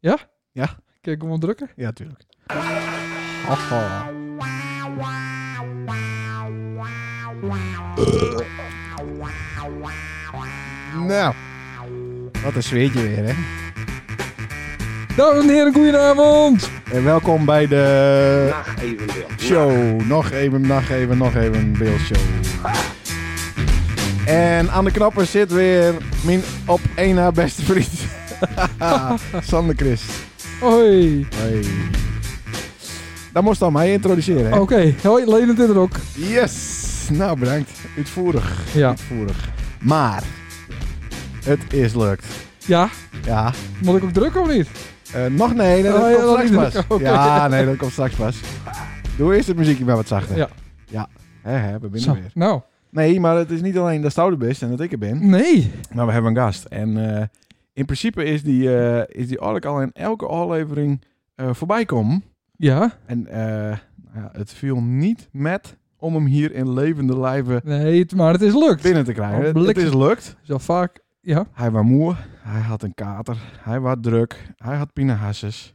Ja? Ja. Kijk, ik hem drukken? Ja, tuurlijk. Haha. Nou. Wat een zweetje weer, hè? Dames en heren, goedenavond! En welkom bij de Nacht evenwel. show. Nog even, nog even, nog even beeldshow. En aan de knoppen zit weer mijn op één na beste vriend. Sander Christ. Hoi! Hey. Dat moest dan mij introduceren, hè? Oh, Oké, hoi, Lenend in er ook. Yes! Nou, bedankt. Uitvoerig. Ja. Uitvoerig. Maar, het is lukt. Ja, Ja. moet ik ook drukken of niet? Eh, nog nee, nee, dat Oh, ja, dat komt is straks leuk. pas. Oké. Ja, nee, dat komt straks pas. Doe eerst het muziekje maar wat zachter. Ja. Ja, hè, hè, we binnen Zo, weer. Hm? nou. Nee, maar het is niet alleen dat Stouder bent en dat ik er Mm. ben. Nee. Maar we hebben een gast. En eh, in principe is die, eh, is die Ork al in elke aflevering eh, voorbij komen. Ja, En eh, ja, het viel niet met om hem hier in levende lijven nee, het- maar het is lukt. binnen te krijgen. Oh, Het- het bliksem. is lukt. Zo vaak, ja. Hij was moe, hij had een kater, hij was druk, hij had pinahasses.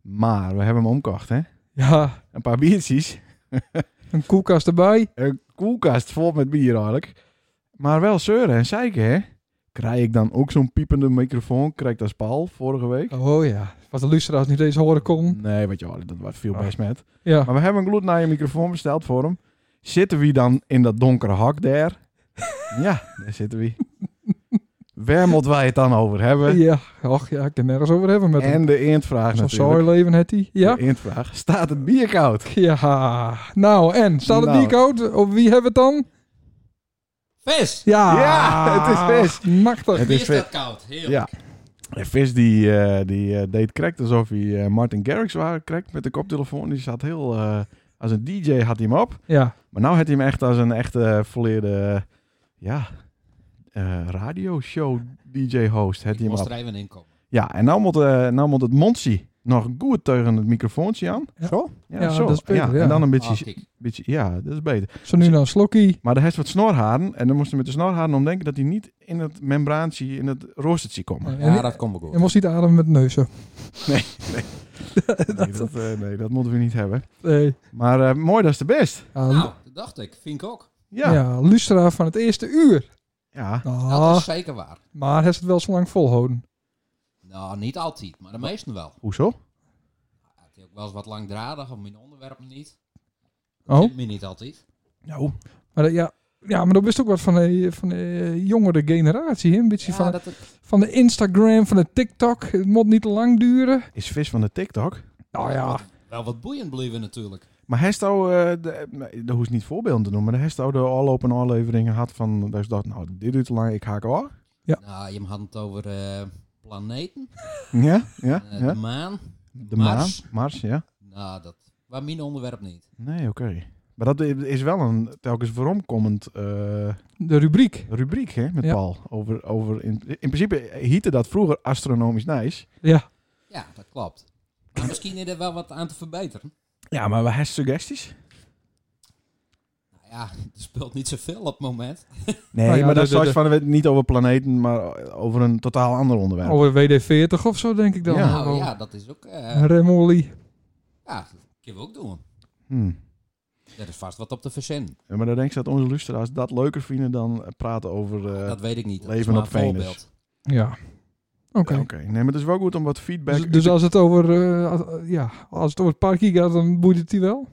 Maar we hebben hem omkocht, hè? Ja, Een paar biertjes, een koelkast erbij. een koelkast vol met bier eigenlijk. Maar wel zeuren en zeiken, hè? Krijg ik dan ook zo'n piepende microfoon? Krijg ik dat spaal vorige week? Oh ja, wat de luisteraars niet eens horen kon. Nee, weet je wel, dat was veel Ah. best met. Ja, Maar we hebben een gloednaaie microfoon besteld voor hem. Zitten we dan in dat donkere hak daar? ja, daar zitten we. Waar moeten wij het dan over hebben? ja. Och ja, ik kan nergens over hebben met hem. En de eendvraag Zo'n natuurlijk. saai leven had hij. Ja. De eendvraag. Staat het bier koud? Ja, nou en, staat het Nou. die code? Of wie hebben we het dan? Vis! Ja, Ja, het is Machtig. Het Wie is is vis. dat koud? Heel. Ja. De vis die, eh, die eh, deed correct alsof hij eh, Martin Garrix was correct met de koptelefoon. Die zat heel... eh, als een DJ had hij hem op. Ja, Maar nou had hij hem echt als een echte eh, volleerde... eh, ja... eh radioshow DJ-host. Had Ik hij hem moest op. er even in komen. Ja, en nou moet, eh, nou moet het Monsie nog goed tegen het microfoontje aan. Ja. Zo? Ja, Ja, zo. dat is beter, ja. En dan een beetje, Ah, kijk. beetje... Ja, dat is beter. zo nu dan een slokkie. Maar de heeft wat snorharen. En dan moest hij met de snorharen om denken dat hij niet in het membraantje, in het roostertje komt. En- Ja, dat komt wel Je goed. moest niet ademen met neuzen. Nee, dat, eh, nee, dat moeten we niet hebben. Nee. Maar eh, mooi, dat is de best. Ja, lu- Nou, dat dacht ik. Vind ik ook. Ja. Ja. ja, luisteraar van het eerste uur. Dat Ah, is zeker waar. maar heeft het wel zo lang volhouden. Nou, niet altijd, maar de meesten wel. Hoezo? Het is ook wel eens wat langdradig, of mijn onderwerpen niet. Oh, Vindt mij niet altijd. Nou, maar dat- ja, ja, maar dat is ook wat van de, van de jongere generatie. Hè? Een beetje Ja, van, dat het- van de Instagram, van de TikTok. Het moet niet te lang duren. is vis van de TikTok. Nou ja, wel wat boeiend blijven natuurlijk. Maar Hesto, eh de, nee, dat hoeft niet voorbeelden te noemen. Maar Hesto de afgelopen afleveringen had van, dat is dat, nou, dit duurt te lang, ik haak af. Nou, je had het over eh, planeten, Ja, ja, eh, de ja. maan. De Mars. maan, Mars, ja. Nou, dat was mijn onderwerp niet. Nee, oké. Maar dat is wel een telkens vooromkomend eh, de rubriek. rubriek, hè, met Ja. Paul. Over, over in, in principe hiette dat vroeger astronomisch nice. Ja, Ja, dat klopt. Maar misschien is er wel wat aan te verbeteren. Ja, maar we hebben suggesties. Nou ja, er speelt niet zoveel op het moment. Nee, Nou ja, maar dat de- is de- zoiets de- van, we- niet over planeten, maar over een totaal ander onderwerp. over WD-40 of zo denk ik dan. Ja. Oh, Nou ja, dat is ook... eh, Remolie. Ja, dat kunnen we ook doen. Hmm. Er is vast wat op te verzinnen. Ja, Maar dan denk ik dat onze luisteraars dat leuker vinden dan eh, praten over... eh, dat weet ik niet. Dat leven is maar op een Venus. voorbeeld. Ja, oké. Oké, nee, maar het is wel goed om wat feedback... Dus, dus als het over, eh, als- ja, als het over het parkie gaat, dan boeit het die wel.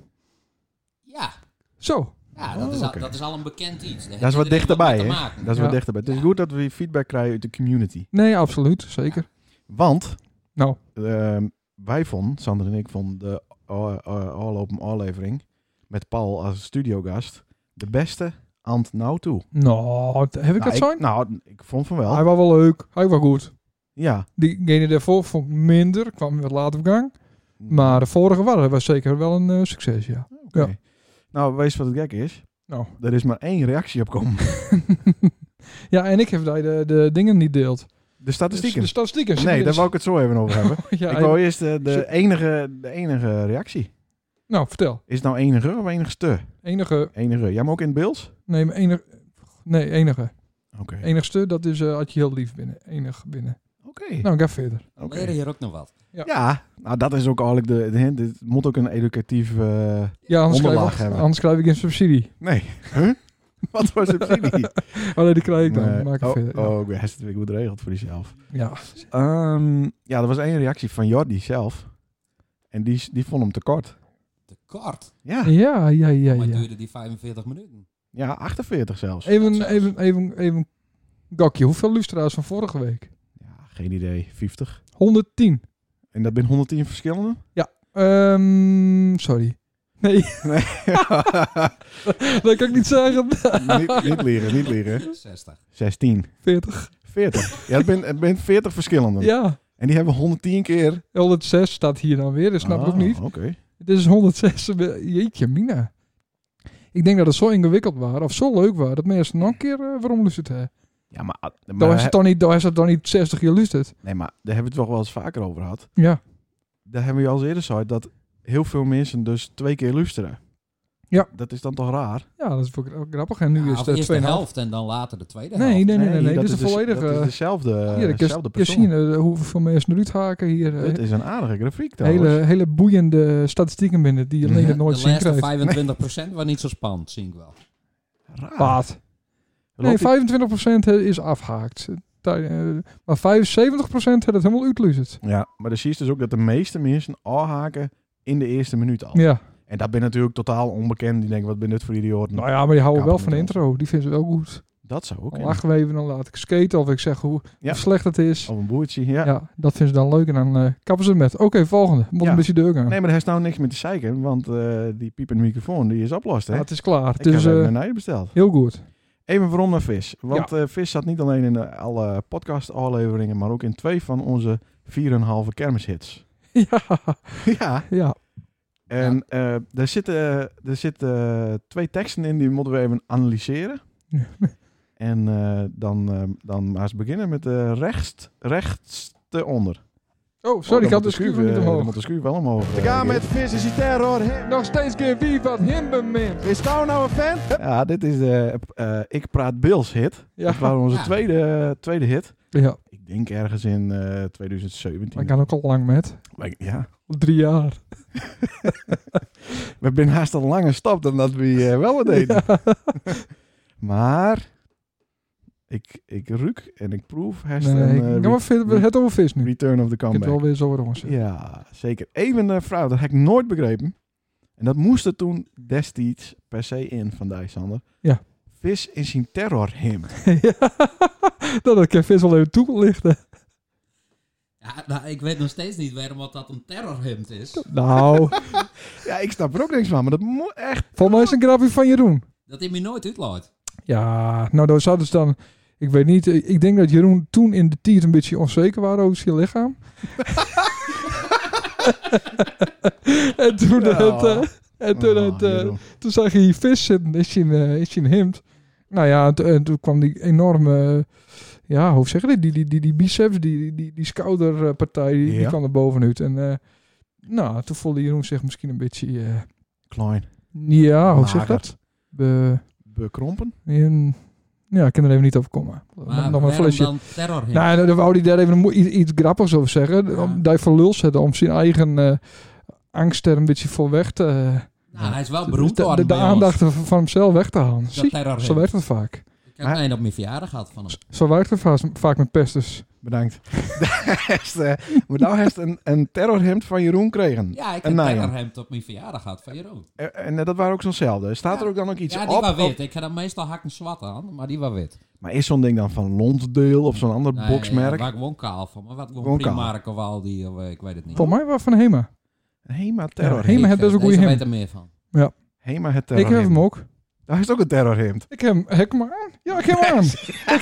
Ja, Zo, ja dat, Oh, is al, oké. dat is al een bekend iets. Daar dat is heeft wat iedereen dichterbij, mee hè? te maken. Dat is Ja. wat dichterbij. Het is goed dat we feedback krijgen uit de community. nee, absoluut, zeker. Want Nou, ehm, wij vonden, Sander en ik vonden de a- a- afgelopen aflevering met Paul als studiogast de beste ant nou toe. nou, heb ik nou, dat Ah, zijn? Nou, ik vond van wel. Hij was wel leuk, hij was goed. Ja. Diegene daarvoor vond ik minder, kwam wat later op gang. Mm. Maar de vorige was, was zeker wel een eh, succes, ja. Oké. ja. Nou, wees wat het gek is. Nou, Er is maar één reactie op komen. ja, en ik heb dat de, de dingen niet deelt. De statistieken. De statistieken. Nee, daar wou ik het zo even over hebben. Dus- ja, Dus- ik en- wou eerst eh, de, Zit- enige, de enige reactie. Nou, vertel. Is het nou enige of enigste? Enige, Enige. Jij maar ook in het beeld? nee, maar enige, nee, enige. Oké. Enigste, dat is eh als je heel lief binnen, enig binnen. Oké. Nou, ga verder. oké. Leren hier ook nog wat. Ja. Ja, nou dat is ook eigenlijk de, de hint. Dit moet ook een educatief... eh, Ja, anders Onderlaag krijg, ik, hebben. anders krijg ik een subsidie. Nee. Huh? Wat voor subsidie? Alleen die krijg ik dan. Nee. Maak ik oh, verder. Ja. oh, ik ben hartstikke goed geregeld voor jezelf. Ja. Ehm ja, er was één reactie van Jordi zelf. En die, die vond hem te kort. Te kort. Ja, Ja, ja, ja, Maar ja. duurde die 45 minuten? ja 48 zelfs. Even, even, even, even. Gokje, hoeveel lustra's van vorige week? Ja, geen idee. 50. 110. En dat ben 110 verschillende? Ehm, sorry. Nee, dat kan ik niet zeggen. niet, niet leren, niet leren. 60. 16. 40. 40. Ja, het ben, het ben 40 verschillende. Ja. En die hebben 110 keer. 106 staat hier dan weer, dat snap ik Ah, ook niet. Oké. Het is 106. Jeetje, Mina. Ik denk dat het zo ingewikkeld was, of zo leuk was, dat mensen nog een keer eh, waarom luistert hè. Ja, maar, Dan maar, is het toch niet, dan is het toch niet 60 jaar luistert. nee, maar daar hebben we het toch wel eens vaker over gehad. Ja. Daar hebben we al eens eerder gezegd dat heel veel mensen dus twee keer luisteren. Ja. Dat is dan toch raar? Ja, dat is ook ook grappig. En nu Ja, is of het eerst de 2,5. helft en dan later de tweede Nee, helft. nee, nee, nee, nee. Dit dat is een dus- volledige... Dat is dezelfde, hier, ik dezelfde je persoon. ziet eh, hoeveel mensen eruit haken hier. eh, Dit is een aardige grafiek trouwens. hele, hele boeiende statistieken binnen die je alleen Mhm. het nooit de zien laatste krijgt. 25 was niet zo spannend, zie ik wel. Raar. Wat? Nee, Loopt die- 25% is afhaakt. Tij- eh, Maar 75% heeft het helemaal uitluzerd. Ja, maar dan zie je dus ook dat de meeste mensen aanhaken in de eerste minuut al. Ja. En dat ben natuurlijk totaal onbekend. Die denken, wat ben dit voor idioten? Nou ja, maar die houden wel van de Kappen intro. Die vinden ze wel goed. Dat zou ook. Dan hè. lachen we even, dan laat ik skaten of ik zeg hoe, Ja. hoe slecht het is. Of een boertje, ja. Ja. dat vinden ze dan leuk en dan eh, kappen ze het met. Oké, volgende. Moet Ja. een beetje deur gaan. Nee, maar daar is nou niks meer te zeiken, want eh, die piepende microfoon die is oplost, hè? Ja, het is klaar. ik Dus heb eh, even een ei besteld. heel goed. Even waarom naar Vis. Want eh, Vis zat niet alleen in eh, alle podcast-afleveringen, maar ook in twee van onze 4,5 kermishits. ja, ja. ja. En eh daar zitten, er zitten eh, twee teksten in, die moeten we even analyseren. en eh, dan, eh, dan maar eens beginnen met de rechts, rechtste onder. Oh, sorry, ik had de schuur niet Dan omhoog. moet de schuur wel omhoog. eh, Geert. vis is die terror. Nog steeds keer wie wat hem bemint. Is Touw nou een fan? Ja, dit is de eh, Ik Praat Bills hit. Dat was Ja, onze Ja. tweede, tweede hit. ja. Ik denk ergens in eh, 2017. Maar ik kan ook al lang met. Maar ik- ja. Al Drie jaar. We hebben haast een lange stap dan dat we eh, wel wat deden. Maar ik, ik ruik en ik proef. Haast Nee, een, ik- eh, ga maar verder. We hebben over vis nu. Ik return of the heb het comeback. wel weer zo rond zitten. Ja, zeker. Even een vrouw, dat heb ik nooit begrepen. En dat moest er toen destijds per se in van Dijsander. Ja. Vis is zijn terror him. Ja. Nou, dat kan vis wel even toelichten. Ja, nou, ik weet nog steeds niet waarom dat dat een terrorhemd is. Nou, Ja, ik snap er ook niks van, maar dat moet echt volgens mij is het een grapje van Jeroen. Dat hij me nooit uitlaat. Ja, nou, daar zouden ze dan. Ik weet niet, eh, ik denk dat Jeroen toen in de tijd een beetje onzeker was over zijn lichaam. en toen, het, eh, en toen, Oh, het, eh, Jeroen. toen zag hij vis zitten, is hij een, eh, is hij een hemd. Nou ja, en, toen- en toen kwam die enorme, ja, hoe zeg je dit? Die, die, die, die biceps, die, die, die schouderpartij, die, die Ja. kwam er bovenuit. En eh, nou, toen voelde Jeroen zich misschien een beetje, eh, Klein. ja, hoe zeg je Mager. dat? Be- Bekrompen? in- ja, ik kan er even niet op komen. Maar Nog maar een waarom flesje. dan terrorhemd? Nou, dan- dan wou hij daar even een moe- iets, iets grappigs over zeggen. Om die voor lul zetten, om zijn eigen eh, angst er een beetje voor weg te... Nou, hij is wel de, beroemd de, geworden de bij ons. aandacht van- van hemzelf weg te halen. Dat Zie, terrorhemd. zo werkt het vaak. Ik heb een op mijn verjaardag gehad van hem. Zo werkt het vaak, vaak met pesters. Bedankt. Daar is, eh, maar nou heeft een, een terrorhemd van Jeroen kregen. Ja, ik heb En een nou ja. terrorhemd op mijn verjaardag gehad van Jeroen. En, en, eh, dat waren ook zo'nzelfde. Staat er ook dan ook iets Ja, op? die was op- wit. Ik ga dan meestal hakken zwart aan, maar die was wit. Maar is zo'n ding dan van Lonsdale of zo'n ander Nee, boxmerk? Waar ik gewoon kaal van, maar wat gewoon Gewoon kaal. Primark of Aldi of eh, ik weet het niet. Volgens mij wel van Hema. Hema Ja, terrorhemd. Hema heeft Ik, eh, best een goede deze hemd. weet er meer van. Hema het Ik terrorhemd. heb hem ook. Daar is ook een terrorhemd. Ik heb hem, heb ik hem aan? Ja, ik heb hem aan. ik,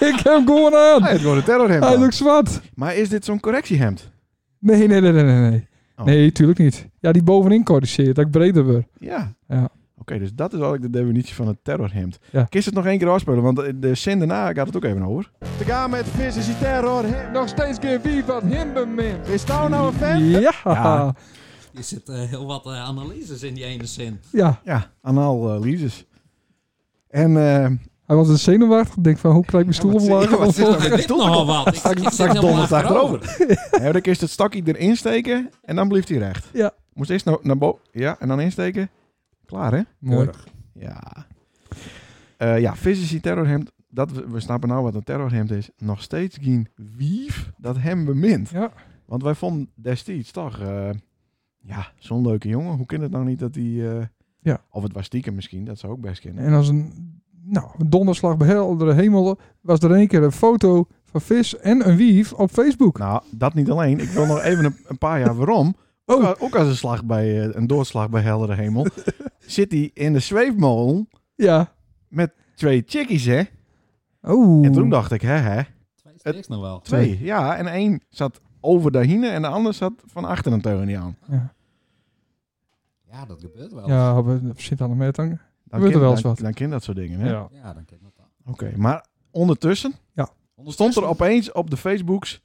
ik heb hem gewoon aan. Hij heeft gewoon Ah, een terrorhemd Hij aan. is ook zwart. Maar is dit zo'n correctiehemd? Nee, nee, nee, nee, nee. Nee, Oh. nee tuurlijk niet. Ja, die bovenin corrigeert, dat ik breder word. Ja. Ja. Oké, dus dat is eigenlijk de definitie van een terrorhemd. Ja. Kist het nog één keer afspelen, want de- de zin daarna gaat het ook even over. Te gaan met vis is die terror. Nog steeds keer wie wat hem bemint. Is Touw nou een fan? Ja. Ja. ja. Er zitten eh, heel wat eh, analyses in die ene zin. Ja, analyses. En eh, Hij was een zenuwachtig. Denkt van, hoe krijg ik mijn stoel wat omlaag? zie- wat zit omhoog? er met die Dit stoel? nogal wat. Ik, Straks- ik zit straks helemaal dondert achterover. achterover. Heb ik eerst het stakje erin steken en dan bleef hij recht. Ja. Moest eerst naar, naar boven. Ja, en dan insteken. Klaar, hè? Mooi. Ja. Eh ja, Visisie Terrorhemd. Dat, we we snappen nou wat een terrorhemd is. Nog steeds geen wief dat hem bemint. Ja. Want wij vonden destijds toch... eh, ja, zo'n leuke jongen. Hoe kan het nou niet dat hij... eh, Ja. Of het was stiekem misschien. Dat zou ook best kunnen. En als een, nou, een donderslag bij heldere hemel was er een keer een foto van vis en een wief op Facebook. Nou, dat niet alleen. Ik wil nog even een, een paar jaar waarom. Oh. Ook, ook als een, slag bij, eh, een doorslag bij heldere hemel. zit hij in de zweefmolen Ja. twee chickies, hè? Oh. En toen dacht ik, hè, hè, Twee stiks nog wel. twee. Ja, en één zat over daarhine en de ander zat van achter een teugenie aan. Ja, Ja, dat gebeurt wel. Ja, ja we we zitten aan de meetang. Dan Gebeurt er ken- wel eens dan- wat. Dan kind dat soort dingen, hè? Ja. dan ken ik dat wel. Oké, maar ondertussen stond er Ondertussen- opeens op de Facebooks...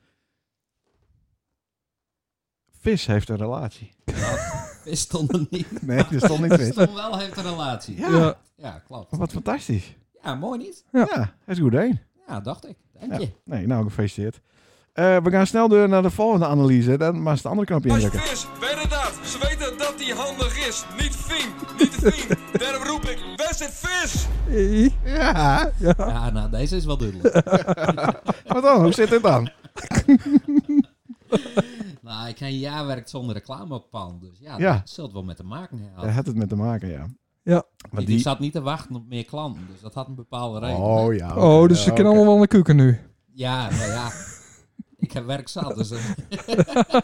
Vis heeft een relatie. Is stond er niet. Nee, er stond niet vis. Stond wel heeft een relatie. Ja. Ja. Ja, klopt. Wat fantastisch. Ja, mooi niet? Ja. Ja, hij is goed heen. Ja, dacht ik. Dank Ja. je. Nee, nou gefeliciteerd. Eh, we gaan snel door naar de volgende analyse. Dan maar eens de andere knopje indrukken. Vis, weet dat. Ze weten dat hij handig is. Niet vink, niet vink. Daarom roep ik, waar zit vis? Eh, Ja, Ja, nou, deze is wel duidelijk. wat dan? Hoe zit dit dan? nou, ik heb een jaar werkt zonder reclame op pan. Dus ja, Ja. dat zult wel met te maken hebben. Daar had het met te maken, ja. Ja. Want Ik die... zat niet te wachten op meer klanten. Dus dat had een bepaalde reden. Oh ja. oké, Oh, dus ja, ze kennen oké. allemaal wel een kuken nu. Ja, nou ja. ik heb werk zat. Dus dat-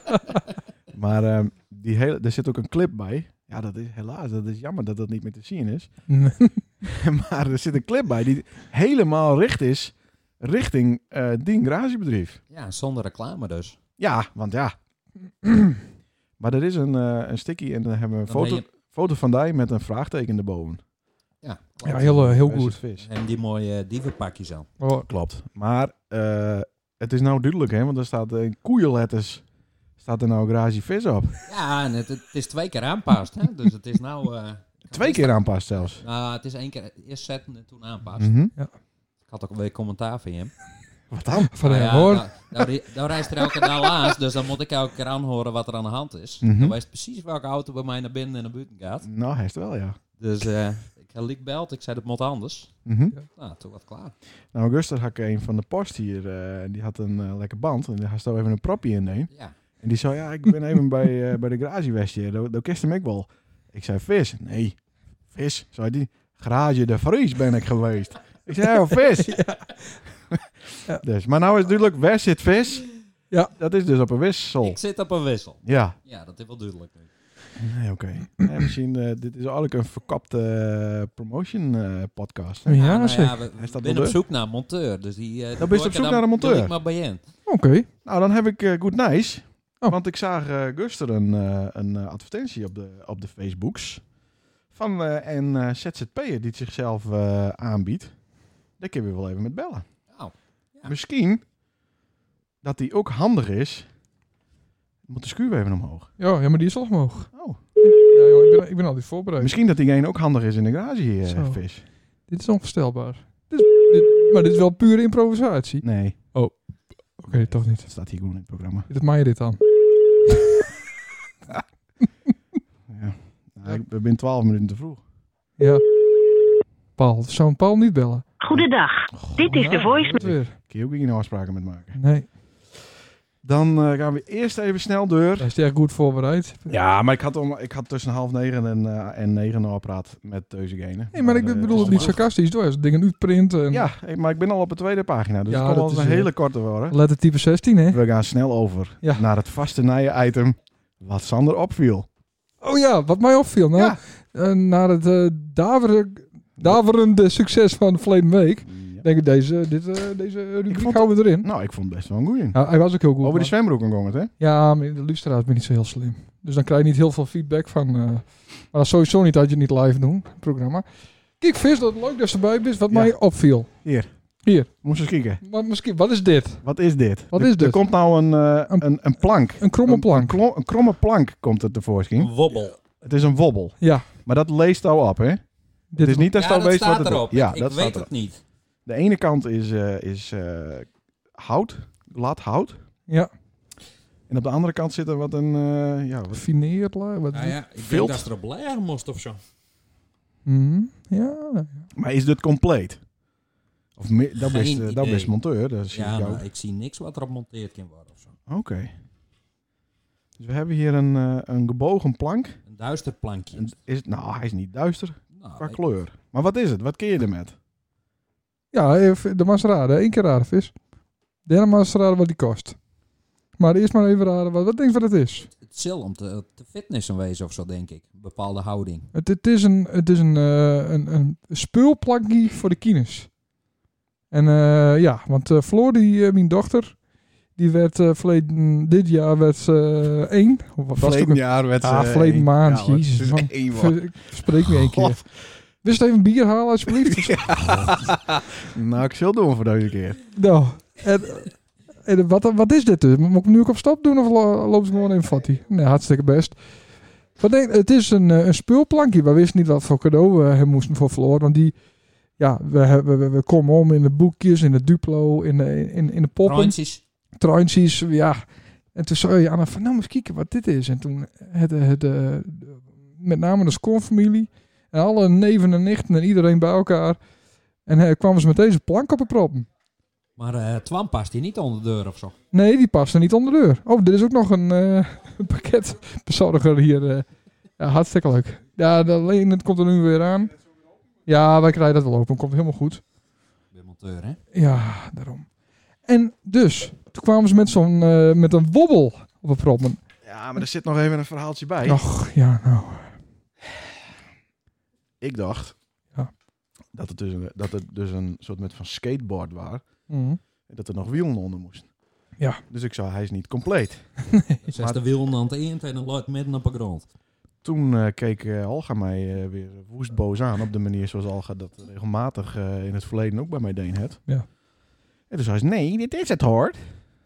Maar ehm, die hele, er zit ook een clip bij. Ja, dat is helaas. Dat is jammer dat dat niet meer te zien is. maar er zit een clip bij die helemaal richt is richting eh Dien Garagebedrijf. ja, zonder reclame dus. Ja, want ja. maar er is een, eh, een sticky en dan hebben we een Dan ben foto, foto van die met een vraagteken erboven. Ja, klopt. Ja, heel, eh, heel Waar is goed. het Vis. En die mooie dievenpakjes aan. Oh, Klopt. Maar eh, het is nou duidelijk, hè? Want er staat in koeienletters staat er nou garage vis op. Ja, en het, het is twee keer aanpast. Hè? Dus het is nou... eh, Twee keer aanpast zelfs. Nou, het is één keer eerst zetten en toen aanpast. Mhm. Ik had ook weer commentaar van hem. Wat dan? van Nou hem ja, hoor. nou- nou ri- nou reist er elke dag laatst, dus dan moet ik elke keer aanhoren wat er aan de hand is. Mhm. Dan weet precies welke auto bij mij naar binnen en naar buiten gaat. Nou, hij is het wel, ja. Dus eh, ik had Liek belt, ik zei dat moet anders. Mhm. Nou, toen was het klaar. Nou, Guster had ik een van de post hier. eh, die had een eh, lekker band. En daar had zo even een propje in neem. Ja, En die zei, ja, ik ben even bij, eh, bij de garagewestje. Dat dat kist hem ik wel. Ik zei, vis? Nee. Vis? Zei die. Garage de Vries ben ik geweest. Ik zei, oh, vis. Ja. Dus, maar nou is het duidelijk, waar zit vis? Ja. Dat is dus op een wissel. ik zit op een wissel. Ja. Ja, dat is wel duidelijk nu. Nee, oké. Nee, misschien, eh, dit is eigenlijk een verkapte eh, promotion eh, podcast. hè? Ja, nou zeg. we, we Hij staat zijn onder. op zoek naar een monteur. Dus die, eh, Nou, die je op doe ik zoek dan- naar een monteur? doe ik maar bij hen. Oké. Nou, dan heb ik eh, Good Nice. Oh. Want ik zag eh Guster een, eh, een eh, advertentie op de, op de Facebooks. Van eh, een eh, ZZP'er die het zichzelf eh, aanbiedt. Daar kunnen we wel even met bellen. Nou, ja. Misschien dat die ook handig is. Moet de schuur weer even omhoog. Ja, ja, maar die is al omhoog. Oh. Ja, joh, ik, ben, ik ben altijd voorbereid. Misschien dat diegene ook handig is in de garage, eh, Zo. vis. Dit is onvoorstelbaar. Dit, is- dit- maar dit is wel pure improvisatie. Oké, Nee, Nee. toch niet. dat staat hier gewoon in het programma. Dit maai je dit aan. Ja. Nou, ik ben 12 minuten te vroeg. Ja. Paul, zo'n Paul niet bellen. Goedendag. Dit is de voice. Goed weer. Kun je ook geen afspraken met maken. Nee, Dan eh, gaan we eerst even snel door hij is echt goed voorbereid. Ja, maar ik had, om, ik had tussen half negen en, eh, en negen al praat met Teuzegene. Nee, maar ik eh, bedoel het niet sarcastisch door. Als dingen uitprinten en Ja, hey, maar ik ben al op de tweede pagina, dus Ja, het kan wel dat eens is, een eh, hele korte worden. letter type 16, hè? We gaan snel over Ja. naar het vaste nije-item wat Sander opviel. Oh ja, wat mij opviel. Nou, Ja. eh, na het eh daveren- daverende succes van de verleden week, Ja. denk ik, deze, dit, eh, deze rubriek vond- houden we erin. Nou, ik vond het best wel een goeie. Ja, hij was ook heel goed. over die maar- zwembroek kon het, hè? Ja, maar de luisteraars ben niet zo heel slim. Dus dan krijg je niet heel veel feedback van... eh, maar dat is sowieso niet dat je het niet live doet, het programma. Kijk, Vis, dat leuk dat ze bij bent, wat Ja. mij opviel. Moest eens kijken. Maar misschien, wat is dit? Wat is dit? Wat Er- is Er dit? komt nou een, eh, Een- een, een plank. Een kromme Een- plank. Klo- een kromme plank komt er tevoorschijn. Een wobbel. Het is een wobbel. Ja. Maar dat leest al op, hè? Dit Het is niet dat ja, je al dat weet wat staat het erop. Ja, ik dat ik weet staat het erop. niet. De ene kant is, eh, is eh, hout, glad hout. Ja. En op de andere kant zit er wat een... eh, ja, wat, Fineerla, wat Ah, Nou ja, ik Vilt. denk dat ze erop leggen moest of zo. Mhm. ja. maar is dit compleet? Of me- dat Geen best, eh, dat idee. best monteur, dat zie Ja, ik ook. maar ik zie niks wat erop monteerd kan worden of zo. Oké. Dus we hebben hier een, eh, een gebogen plank. Een duister plankje. En Is, het- nou, hij is niet duister Nou, qua ik- kleur. Maar wat is het? Wat keer je ermee? Ja, even- de mas raden. Eén keer raden, vis. Daarna maar eens raden wat die kost. Maar eerst maar even raden wat, wat denk je wat het is. Het zil om te, te fitnessen wezen of zo, denk ik. Een bepaalde houding. Het, het is een, het is een, eh een, een speelplakje voor de kines. En eh, ja, want eh, Floor, die, eh, mijn dochter, die werd eh verleden, dit jaar werd ze eh, één. Of wat was het ook? Verleden jaar werd Ah, eh, verleden één- maand, ja, hoor, jezus, het is man. één woord. Ver- Spreek me één keer. God. Wist even een bier halen, alsjeblieft. Nou, ik zal het doen voor deze keer. Nou, en, en wat, wat is dit dus? Moet ik hem nu ook op stap doen of lo- loopt ze gewoon in fatty? Nee, hartstikke best. Wat denk, het is een, eh, een speelplankje. We wisten niet wat voor cadeau we hem moesten voor verloren. Want die, ja, we, hebben- we, we komen om in de boekjes, in de Duplo, in de, in, in de poppen, Rondjes. truintjes, ja. En toen zei Anna van, nou, eens kijken wat dit is. En toen het, het, eh, met name de schoonfamilie en alle neven en nichten en iedereen bij elkaar. En eh, kwamen ze met deze plank op de proppen. Maar eh Twan past hier niet onder de deur of zo. Nee, die past er niet onder de deur. Oh, er is ook nog een eh, pakketbezorger hier. eh. Ja, hartstikke leuk. Ja, de- alleen het komt er nu weer aan. Ja, wij krijgen dat wel open. Komt helemaal goed. Ik ben monteur, hè? Ja, daarom. En dus, toen kwamen ze met zo'n eh, met een wobbel op een proppen. Ja, maar er zit nog even een verhaaltje bij. Och, ja, nou. Ik dacht Ja. dat, het dus een, dat het dus een soort met van skateboard was. Mhm. En dat er nog wielen onder moesten. Ja. Dus ik zei, hij is niet compleet. Zes de wielen aan het eind en dan loopt midden op de grond. Toen eh, keek eh, Alga mij eh, weer woest boos aan. Op de manier zoals Alga dat regelmatig eh, in het verleden ook bij mij deed. Het. Ja. En toen zei ze, nee, dit is het hoor.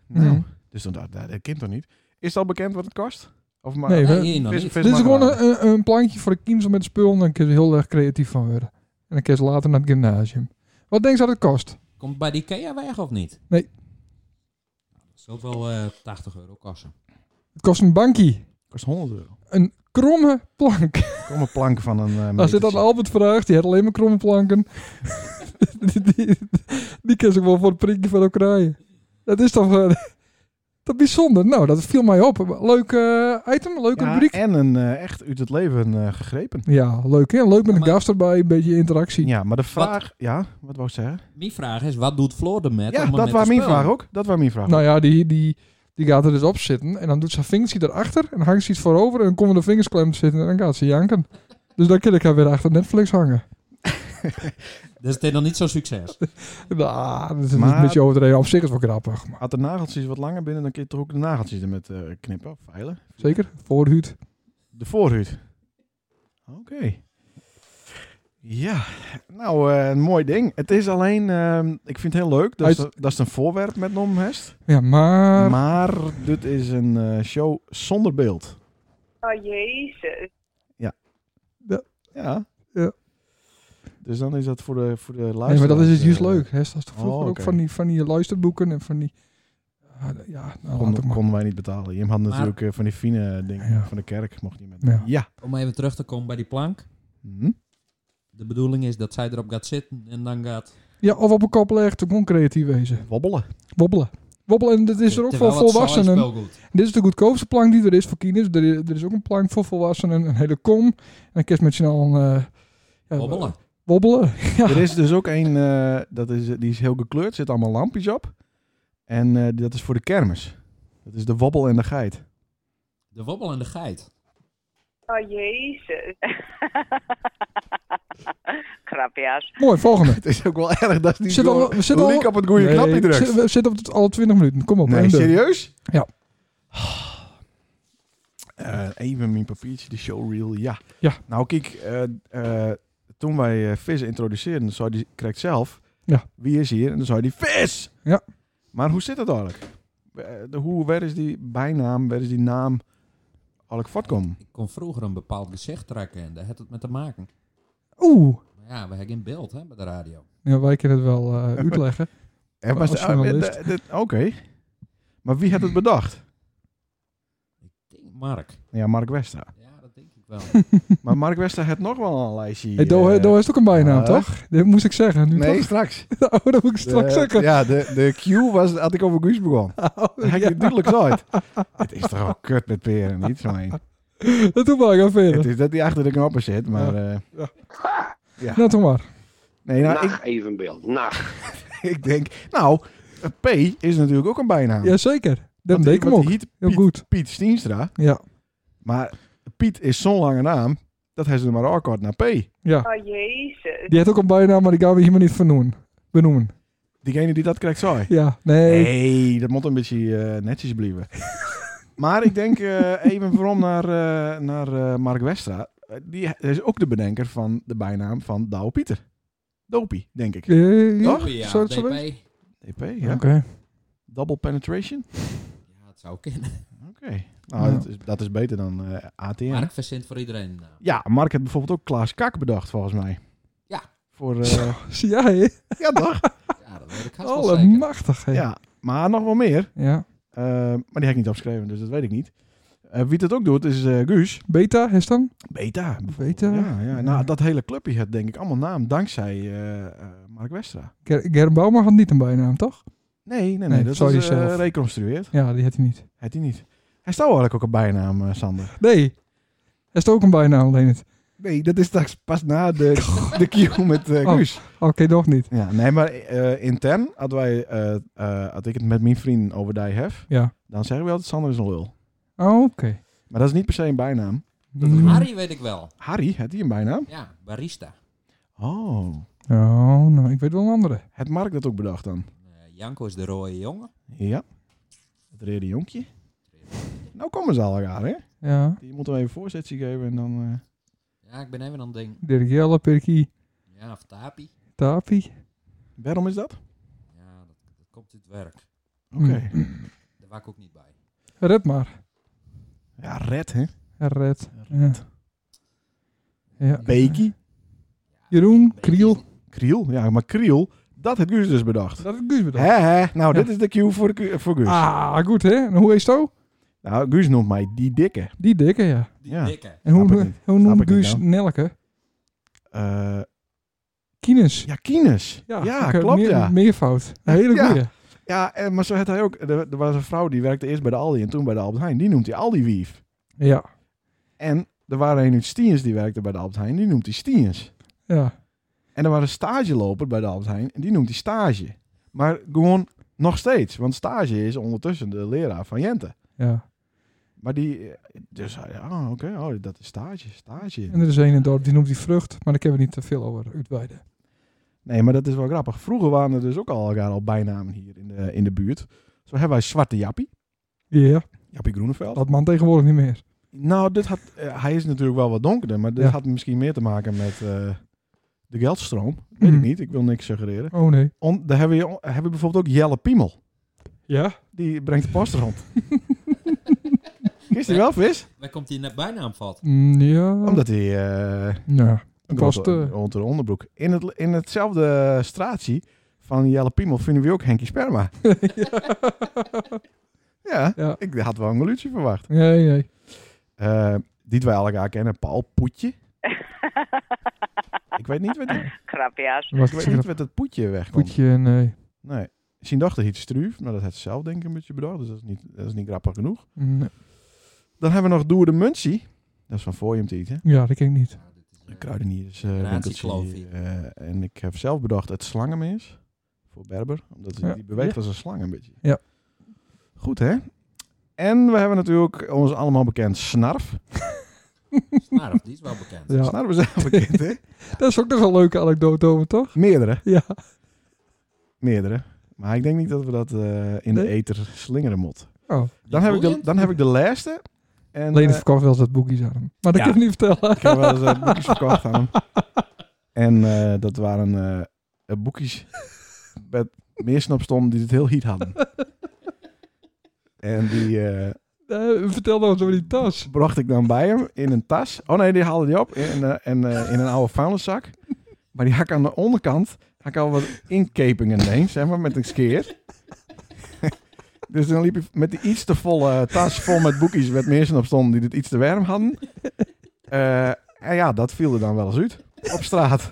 Nou, Mhm. dus dan dacht ik, dat, dat kind toch niet. Is het al bekend wat het kost? Of maar, Nee, Nee, we- hier nog vis- niet. vis dit is maar gewoon raden. een, een- een plankje voor de kiemsel met spul. En dan kun je er heel erg creatief van worden. En dan kun je ze later naar het gymnasium. Wat denk je dat het kost? Komt bij de IKEA weg of niet? Nou, Nee. Dat zal wel eh 80 euro kosten. Het kost een bankie. kost 100 euro. Een kromme plank. Kom een plank van een eh Als dit aan metertje. Albert vraagt, die had alleen maar kromme planken. die, die, die kan zich wel voor het prikje van elkaar krijgen. Dat is toch eh, dat is bijzonder. Nou, dat viel mij op. Leuk eh, item, leuke Ja, rubriek. en een eh, echt uit het leven eh, gegrepen. Ja, leuk hè? Leuk met een Maar- gast erbij, een beetje interactie. Ja, maar de vraag... Ja, wat wou ik zeggen? Mijn vraag is, wat doet Floor ermee? ja, om dat was met te mijn spelen? vraag ook. Dat was mijn vraag. Nou ja, die, die, die gaat er dus op zitten en dan doet ze haar vingers erachter en hangt ze iets voorover en dan komen de vingers klem te zitten en dan gaat ze janken. Dus dan kan ik haar weer achter Netflix hangen. Dus dit nog niet zo'n succes. Nou, dat is een Maar- beetje overdreven. Op zich is wel grappig. Maar Had de nageltjes wat langer binnen, dan kun je toch ook de nageltjes er met eh, knippen, of veilen. zeker, voorhuid. De voorhuid. Oké. Ja, nou, eh, een mooi ding. Het is alleen, ehm, ik vind het heel leuk dat, Uit- Ah. ze- dat is een voorwerp met nom heeft. Ja, maar... Maar dit is een eh, show zonder beeld. Oh, jezus. Ja. Ja. Dus dan is dat voor de, voor de luisteraars. Nee, maar dat is het eh, juist leuk. Hè? Dat is toch Oh, vroeger ook oké. van die, van die luisterboeken en van die... Ah, d- Ja, nou, laat ik Konden, maar. konden wij niet betalen. Je had natuurlijk eh, van die fine dingen Ja. van de kerk, mocht niet met. Ja. Om even terug te komen bij die plank. Hm? De bedoeling is dat zij erop gaat zitten en dan gaat... Ja, of op een kop legt, gewoon creatief wezen. Wobbelen. Wobbelen. Wobbelen, en dit is er ook Terwijl voor het saai volwassenen. speelgoed. Dit is de goedkoopste plank die er is voor kinderen. Er, is- er is ook een plank voor volwassenen, een hele kom. En dan kun je met z'n allen... eh, ja, Wobbelen. Wobbelen. Ja. Er is dus ook een, eh, dat is, die is heel gekleurd, zit allemaal lampjes op. En eh, dat is voor de kermis. Dat is de wobbel en de geit. De wobbel en de geit. Oh, jezus. Grapjas. Mooi, volgende. Het is ook wel erg dat is niet Zit gewoon al- zit link al- op het goede Nee, knapje drukt. zit- We zitten op het, alle 20 minuten. Kom op. nee, en de- serieus? Ja. Eh, even mijn papiertje, de showreel, ja. Ja. Nou kijk, eh, eh, toen wij eh Vis introduceerden, zei die krijgt zelf, Ja. wie is hier? En dan zei die Vis! Ja. Maar hoe zit dat eigenlijk? Eh, de, hoe, waar is die bijnaam, waar is die naam eigenlijk voortkomen? Ik kon vroeger een bepaald gezicht trekken en daar had het met te maken. Oeh. Maar ja, we hebben geen beeld hè, bij de radio. Ja, wij kunnen het wel eh, uitleggen. Ja, maar Als ze- oh, journalist. eh, dit- Oké. Maar wie had het bedacht? Ik denk Mark. Ja, Mark Westra. Ja, dat denk ik wel. Maar Mark Westra had nog wel een lijstje. Hey, Doe eh, Doe is ook een bijnaam, eh, toch? Dit moest ik zeggen. Nu Nee, toch? straks. Oh, dat moet ik straks De- zeggen. Ja, de, de Q was, had ik over Guus begonnen. Oh, Dat heb je duidelijk nooit. Het is toch wel kut met peren, niet zo heen. Dat doe maar, ga verder. Het is dat hij achter de knoppen zit, maar... eh, Nou, toch maar. nee, nou, ik, Nacht evenbeeld. Nacht. ik denk... Nou, P is natuurlijk ook een bijnaam. Jazeker. Dat Want- deed ik hem want ook. die heet Heel Piet, goed. Piet Stienstra. Ja. Maar Piet is zo'n lange naam, dat hij ze er maar afkort naar P. ja. Oh jezus. Die heeft ook een bijnaam, maar die gaan we hier maar niet vernoemen. benoemen. Diegene die dat krijgt, zou Ja, nee. Nee, dat moet een beetje eh netjes blijven. maar ik denk eh, even voorom naar, eh, naar eh, Mark Westra. Eh, die is ook de bedenker van de bijnaam van Douwe Pieter. Dopie, denk ik. Eh, ja. Toch? Zo- Ja, zo DP. DP, ja. Oké. Double penetration. Ja, dat zou kennen. Oké. Nou, Ja. dat, is, dat is beter dan eh, ATM. Mark verzint voor iedereen. Nou, Ja, Mark had bijvoorbeeld ook Klaas Kak bedacht, volgens mij. Ja. Voor, eh, Zie jij? ja, toch? ja, dat weet ik haast wel zeker. Allemachtig, hè? Ja, maar nog wel meer. Ja. Eh, maar die heb ik niet opgeschreven, dus dat weet ik niet. Eh, wie dat ook doet, is eh, Guus. Beta, is dan? Beta. bijvoorbeeld. Beta. Ja, ja. Nou, dat hele clubje had denk ik allemaal naam dankzij eh, eh, Mark Westra. Ger Gerrit Bouma had niet een bijnaam, toch? Nee, nee, nee. Nee, dat sorry is eh zelf. reconstrueerd. Ja, die had hij niet. Had hij niet. Hij staat eigenlijk ook een bijnaam, eh, Sander. Nee. Hij is ook een bijnaam, alleen het. Nee, dat is straks pas na de, de Q met eh, Oh. Guus. Oké, nog niet. Ja, nee, maar eh, intern had wij, eh, eh, had ik het met mijn vrienden over die hef, Ja. dan zeggen we altijd Sander is een lul. Oh, Oké. Maar dat is niet per se een bijnaam. Mm. Harry weet ik wel. Harry, had hij een bijnaam? Ja, barista. Oh. Oh, nou, ik weet wel een andere. Had Mark dat ook bedacht dan? Eh, Janko is de rode jongen. Ja. Het rede jonkje. Nou komen ze al elkaar, hè? Ja. Je moet hem even voorzetje geven en dan... eh, Ja, ik ben even aan het denken. Dirk Jelle, Perky, Ja, of Tapi. Tapi. Waarom is dat? Ja, dat, dat komt uit het werk. Oké. Daar was ik ook niet bij. Red maar. Ja, red, hè? Red. Ja. ja. Beekie. Jeroen, Kriel. Kriel. Ja, maar Kriel, dat heeft Guus dus bedacht. Dat is Guus bedacht. Hè, hè? Nou, dit is de cue voor, Gu- voor Guus. Ah, goed hè. En hoe is het ook? Nou, Guus noemt mij die dikke. Die dikke, ja. Die Ja. dikke. En Snap ik hoe, niet. hoe Snap noemt ik niet, Guus nou. Nelke? Eh, Kines. ja, Kines. Ja, eh, oké, klopt, meer, ja. Meervoud. Een hele Ja. goeie. Ja, en, maar zo had hij ook... Er, er was een vrouw die werkte eerst bij de Aldi en toen bij de Albert Heijn. Die noemt hij Aldi-wief. Ja. En er waren een uit Stiens die werkte bij de Albert Heijn. Die noemt hij Stiens. Ja. En er was een stageloper bij de Albert Heijn. En die noemt hij stage. Maar gewoon nog steeds. Want stage is ondertussen de leraar van Jente. Ja. Maar die, eh, dus, hij, ah, oké, oh, dat is stage, stage. En er is een in het dorp, die noemt die vrucht, maar daar kunnen we niet te veel over uitweiden. Nee, maar dat is wel grappig. Vroeger waren er dus ook al elkaar al bijnamen hier in de, in de buurt. Zo hebben wij Zwarte Jappie, Ja, Jappie Groeneveld. dat man tegenwoordig niet meer. Nou, dit had, eh, hij is natuurlijk wel wat donkerder, maar dit Ja. had misschien meer te maken met eh, de geldstroom. Weet Mhm. ik niet, ik wil niks suggereren. Oh nee. On, daar hebben we, hebben we bijvoorbeeld ook Jelle Piemel. Ja? Die brengt de post rond. Is hij wel vis? Waar komt die net bijnaam valt? Mm, ja. Omdat hij... eh, Ja. Een was grote- onder onderbroek. In, het, in hetzelfde eh, straatje van Jelle Piemel vinden we ook Henkie Sperma. ja. Ja. ik had wel een geluidje verwacht. Nee, nee. Eh, die wij elkaar kennen, Paul Poetje. ik weet niet wat, ik Grapjas. Dat was weet het niet een wat het poetje wegkomt. poetje, nee. Nee. Zijn dochter heet Struuf, maar dat had ze zelf denk ik een beetje bedacht, dus dat is niet, dat is niet grappig genoeg. Nee. Dan hebben we nog Doer de Munchie. Dat is van voor je hem te eten. Ja, dat ken ik niet. Ja, dit is, eh, De kruideniers. eh, winkeltje, Ratiekloof. eh, en ik heb zelf bedacht het slangenmees. Voor Berber. Omdat die, Ja. die beweegt Ja. als een slang een beetje. Ja. Goed hè? En we hebben natuurlijk ons allemaal bekend Snarf. Snarf, die is wel bekend. Ja. Snarf is allemaal bekend hè? Dat is ook nog wel een leuke anekdote over, toch? Meerdere. Ja. Meerdere. Maar ik denk niet dat we dat eh, in de Nee? eter slingeren mot. Oh. Dan heb, ik de, boeiend. dan heb ik de laatste. En Lene eh, verkocht wel eens dat boekjes aan hem. Maar dat Ja. kan ik niet vertellen. ik heb wel eens eh, boekjes verkocht aan hem. En eh, dat waren eh, eh, boekjes met meer snapstom die het heel heat hadden. En die eh, Eh, vertel nou eens over die tas. bracht ik dan bij hem in een tas. Oh nee, die haalde hij op in, een, eh, en, eh, in een oude vuilniszak. Maar die hak aan de onderkant, had ik al wat inkepingen neem, zeg maar, met een skeer. dus dan liep je met die iets te volle tas vol met boekjes met mensen op stonden die het iets te warm hadden. Eh, en ja, dat viel er dan wel eens uit op straat.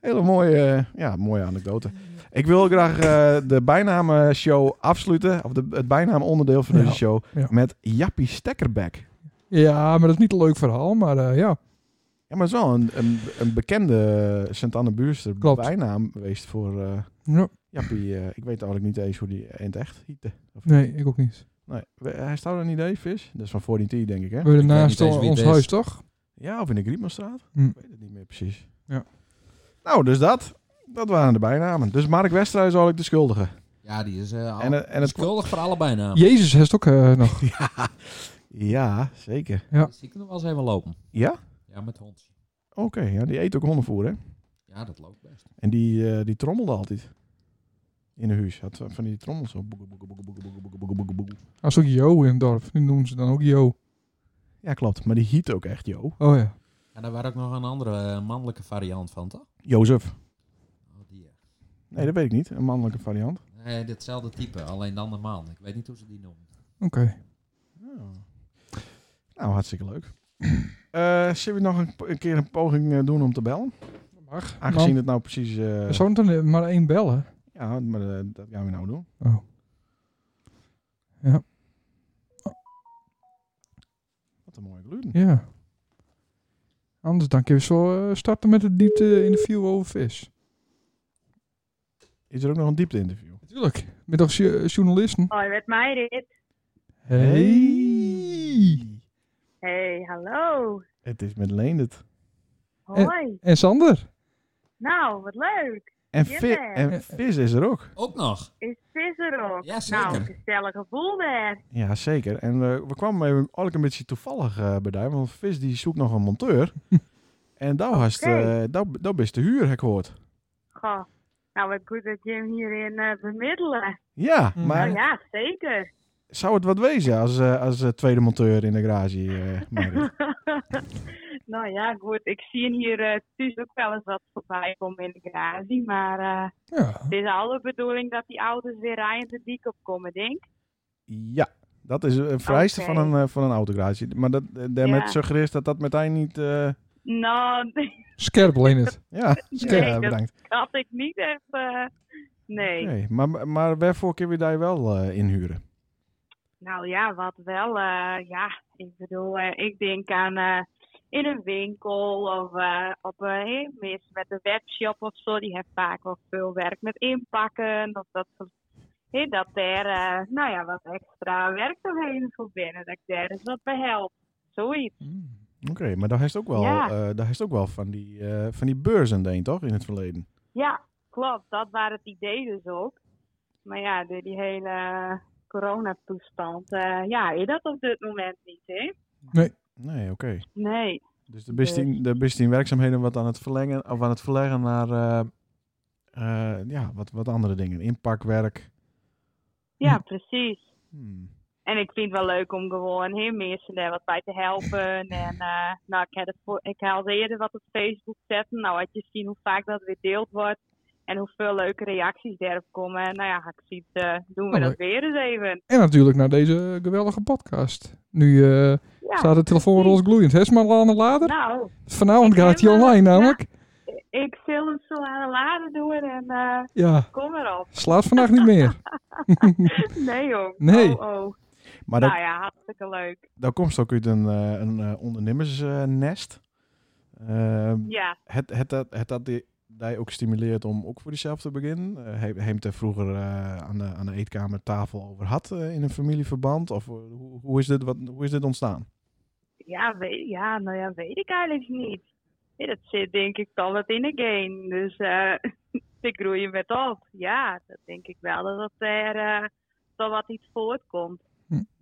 Hele mooie, eh, ja, mooie anekdote. Ik wil graag eh, de bijnaamshow afsluiten, of de, het bijnaamonderdeel van deze Ja, show, ja. met Jappie Stekkerback. Ja, maar dat is niet een leuk verhaal, maar eh, ja. Ja, maar het is wel een, een, een bekende eh, Sint-Anne Buurster Klopt. bijnaam geweest voor eh Ja, Jappie. eh, ik weet eigenlijk niet eens hoe die in het echt hiette. Of- Nee, ik ook niet. nee. We- Hij staat er een idee, Vis? Dat is van 14T, denk ik, hè? We hebben weet naast niet eens wie ons het is. huis, toch? Ja, of in de Griepmanstraat? Hm. Ik weet het niet meer precies. Ja. Nou, dus dat. Dat waren de bijnamen. Dus Mark Westra is eigenlijk de schuldige. Ja, die is eh, al- En, het- en het... schuldig voor allebei namen. Jezus heeft ook eh, nog. Ja, zeker. Ja. Dus die kunnen wel eens even lopen. Ja? Ja, met hond. Oké, ja, die eet ook hondenvoer, hè? Ja, dat loopt best. En die, eh, die trommelde altijd. In een huis. Had eh, van die trommels zo. boeke, boeke, boeke, boeke, boeke, boeke, boeke, boeke. Als ook Jo in het dorp. Nu noemen ze dan ook Jo. Ja, klopt. Maar die hiet ook echt Jo. Oh ja. En daar was ook nog een andere eh, mannelijke variant van, toch? Jozef. Oh, die, eh, Nee, dat weet ik niet. Een mannelijke variant. nee, ditzelfde type, alleen dan de man. Ik weet niet hoe ze die noemen. Oké. Oh. Nou, hartstikke leuk. Eh zullen we nog een, een keer een poging eh, doen om te bellen? Mag. Aangezien het nou precies... eh, Nou, Zou het dan maar één bellen? ja, maar eh, dat gaan we nou doen. Oh. Ja. Wat een mooie gluten. Ja. Anders dan kunnen we zo eh, starten met het diepte interview over vis. Is er ook nog een diepte interview? Natuurlijk. Met als jo- journalisten. Hoi, met mij dit. Hey! Hey, hallo. Het is met Leendert. Eh. Hoi. En Sander. Nou, wat leuk. En, Ja. vi en Vis is er ook. Ook nog. Is Vis er ook? Ja, zeker. nou, gezellig gevoel daar. Ja, zeker. En we, we kwamen even eigenlijk een beetje toevallig eh bij daar, want Vis die zoekt nog een monteur. en daar was eh, Oké. daar best de huur, heb ik gehoord. Goh. Nou, wat goed dat je hem hierin eh, bemiddelen. Ja, Mm. maar Eh. Nou ja, zeker. zou het wat wezen als, eh, als eh, tweede monteur in de garage? eh, Marit? Nou ja, goed. Ik zie hier eh thuis ook wel eens wat voorbij komen in de garage. Maar Oh. eh, Ja. het is al de bedoeling dat die auto's weer rijden de dik op komen, denk ik. ja, dat is een vereiste Oké. van een, eh, van een autogarage. Maar dat, eh, daarmee Ja. suggereert dat dat meteen niet... eh, Nou, Scherp alleen het. ja, Nee, ja, dat- bedankt. dat ik niet heb. eh, nee. Oké, Maar, maar waarvoor kun je daar wel eh, inhuren? Nou ja, wat wel. eh, ja, ik bedoel, eh, ik denk aan eh, in een winkel of eh, op een hey, mis met een webshop of zo. Die heeft vaak wel veel werk met inpakken of dat soort. Hey, dat daar, eh, nou ja, wat extra werk doorheen voor binnen. Dat ik daar eens wat bij help. Zoiets. Oké, maar daar heeft ook wel, Ja. eh, daar heeft ook wel van, die, eh, van die beurzen deen, toch? In het verleden. Ja, klopt. Dat was het idee dus ook. Maar ja, door die hele coronatoestand, eh, ja, is dat op dit moment niet, hè? Nee, oké. Nee. Dus de bestien, de bestien werkzaamheden wat aan het verlengen of aan het verleggen naar eh, eh, ja, wat, wat andere dingen. Inpakwerk. Ja, precies. Hmm. En ik vind het wel leuk om gewoon heel mensen daar wat bij te helpen. En eh, nou, ik had, het voor- ik had al eerder wat op Facebook zetten. Nou, had je zien hoe vaak dat weer deeld wordt. En hoeveel leuke reacties daarop komen. En nou ja, ik zie het, eh, doen we Oh, dat weer eens even. En natuurlijk naar deze geweldige podcast. Nu eh, Ja, staat de telefoon roze gloeiend. Hes maar aan lader. nou, Vanavond gaat hij eh, online namelijk. ik zal hem zo aan de laden doen en eh, Ja. kom erop. Slaat vannacht niet meer. Nee joh. Nee. Oh, oh. Maar dat, Nou ja, hartstikke leuk. dat komt ook uit een, eh, een eh, ondernemersnest. Eh, Ja, het, het, dat het dat die, die ook stimuleert om ook voor jezelf te beginnen. Eh, Hij heeft er vroeger eh, aan, de, aan de eetkamertafel over had eh, in een familieverband. Of eh, hoe, hoe, is dit, wat, hoe is dit ontstaan? ja, weet, ja, nou ja, weet ik eigenlijk niet. Ja, dat zit denk ik al wat in de game. Dus eh ze groeien met op. Ja, dat denk ik wel. Dat er eh wel wat iets voortkomt.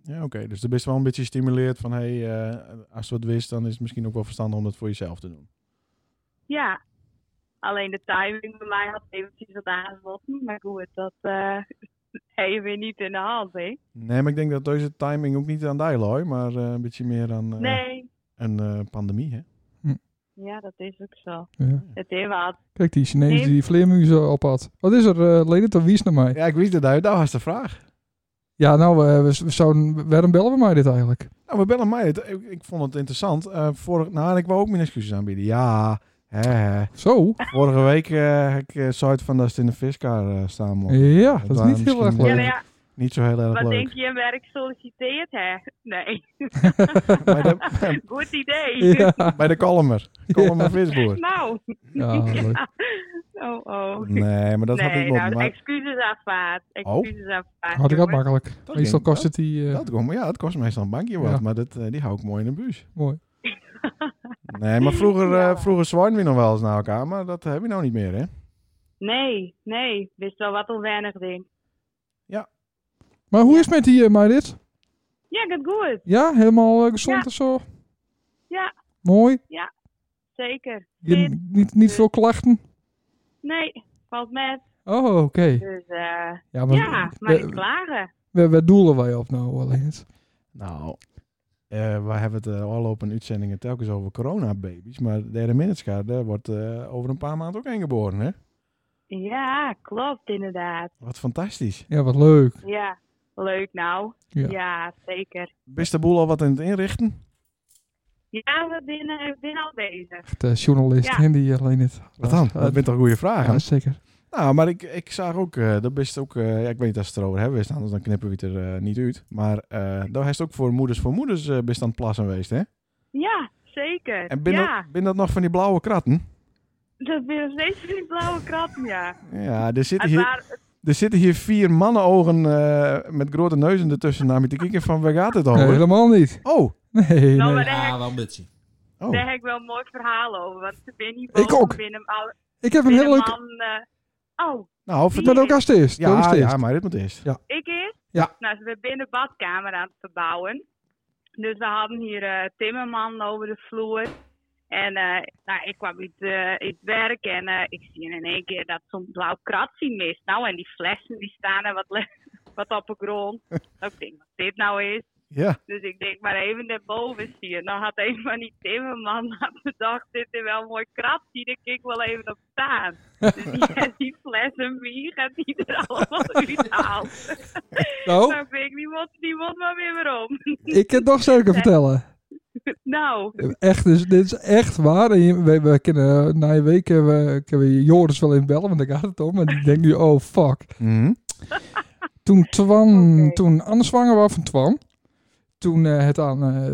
Ja, oké. Dus er best wel een beetje stimuleert van... Hey, eh, als je wat wist, dan is het misschien ook wel verstandig om dat voor jezelf te doen. Ja. Alleen de timing bij mij had eventjes wat aangesloten. Maar goed, dat eh heb je weer niet in de hand, hè? Nee, maar ik denk dat deze timing ook niet aan die looi, maar eh, een beetje meer aan eh, Nee, een eh, pandemie, hè? Ja, dat is ook zo. Ja. Het is wat. Kijk, die Chinees Nee. die vleermuizen op had. Wat is er, eh Lene? Dat wies naar mij. Ja, Ja, ik wist het uit. Nou, was de vraag. nou, eh, we, we zouden, waarom bellen we mij dit eigenlijk? Nou, we bellen mij. Het- Ik, ik vond het interessant. Eh vorig, nou, en ik wou ook mijn excuses aanbieden. Ja, hè, hè. Zo? vorige week eh ik eh, zei het van dat ze in de viskar eh, staan mocht. Ja, dat is waren niet heel erg leuk. misschien Ja, nou leuk. ja, Niet zo heel erg wat denk leuk. je, een werk solliciteert hè? Nee, Bij de, goed idee. Ja, bij de Kalmer. Kalmer visboer. Nou, ja leuk. oh oh. Nee, maar dat had nee, ik nog nou, maar excuses aanvaard. Excuses aanvaard. Had ik dat jongens. makkelijk. Dat Meestal ging- kost het die... eh, Dat komt, ja, dat kost meestal een bankje wat, Ja. maar dat, eh, die hou ik mooi in de buis. Mooi. Nee, maar vroeger, eh Ja. vroeger zwaaiden we nog wel eens naar elkaar, maar dat hebben we nou niet meer, hè? Nee, nee. Wist wel wat onwennig ding. Maar hoe is het met die eh, Meidit? Ja, gaat goed. Ja, helemaal eh, gezond Ja. en zo? Ja. Mooi. Zeker. Je- Fit. niet, niet veel klachten? Nee, valt met. Oh, oké. Dus eh, Ja, maar, ja, maar we- niet klagen. we- we doelen wij op nou, alleen. Nou, eh we hebben het eh, al op een uitzendingen telkens over coronababies, maar de derde minuutskaart daar wordt eh, over een paar maanden ook een geboren, hè? Ja, klopt inderdaad. Wat fantastisch. Ja, wat leuk. Ja, leuk nou. Ja. Ja, zeker. Bist de boel al wat aan het inrichten? Ja, we zijn eh, we zijn al bezig. De eh, journalist Ja. en die eh, alleen het. Ah, Wat dan? Dat bent toch een goede vraag, Ja, zeker. Nou, maar ik, ik zag ook, eh dat best ook, eh, ja, ik weet niet als ze het erover hebben, is, anders dan knippen we het er eh, niet uit. Maar eh daar is ook voor moeders voor moeders eh best aan het plassen geweest, hè? Ja, zeker. En ben, ja, dat, ben dat nog van die blauwe kratten? dat ben nog steeds die blauwe krab, ja. Ja, er zitten Het hier, waren- er zitten hier vier mannenogen eh, met grote neuzen ertussen naar me te kijken van, waar gaat het Nee, over? helemaal niet. Oh, Nee, Nou, nee. maar daar, Ja, wel een beetje. oh. daar heb ik wel een mooi verhaal over. Want ze ben hier Ik boven ook. binnen, al, Ik heb een binnen heel leuk. man... eh, oh, Nou, vertel- Maar ook als het is. dat is Ja, het eerst. ja, maar dit moet eerst. Ik eerst? Ja. Nou, ze zijn binnen de badkamer aan het verbouwen. Dus we hadden hier eh, timmerman over de vloer. En eh, nou, ik kwam uit, eh, uit het werk en eh, ik zie in één keer dat zo'n blauw kratje mist. Nou, en die flessen die staan er wat, le- wat op de grond. Nou, ik denk wat dit nou is. Ja, Dus ik denk maar even naar boven zien. Nou had een van die timmerman had bedacht, dit is wel een mooi krabje, daar kijk ik wel even op staan. Dus die, heeft die fles en bier gaat die er allemaal uit halen. Nou, Nou, vind ik, die moet, die moet maar weer weer om. ik kan het nog zeker vertellen. Nou, Echt, dus, dit is echt waar. En je- we, we kennen eh, na een week eh, we, kunnen we Joris wel in bellen, want daar gaat het om. En die denkt nu, oh fuck. Mhm. Toen Twan, Oké. toen Anne zwanger was van Twan. Toen eh, het aan eh,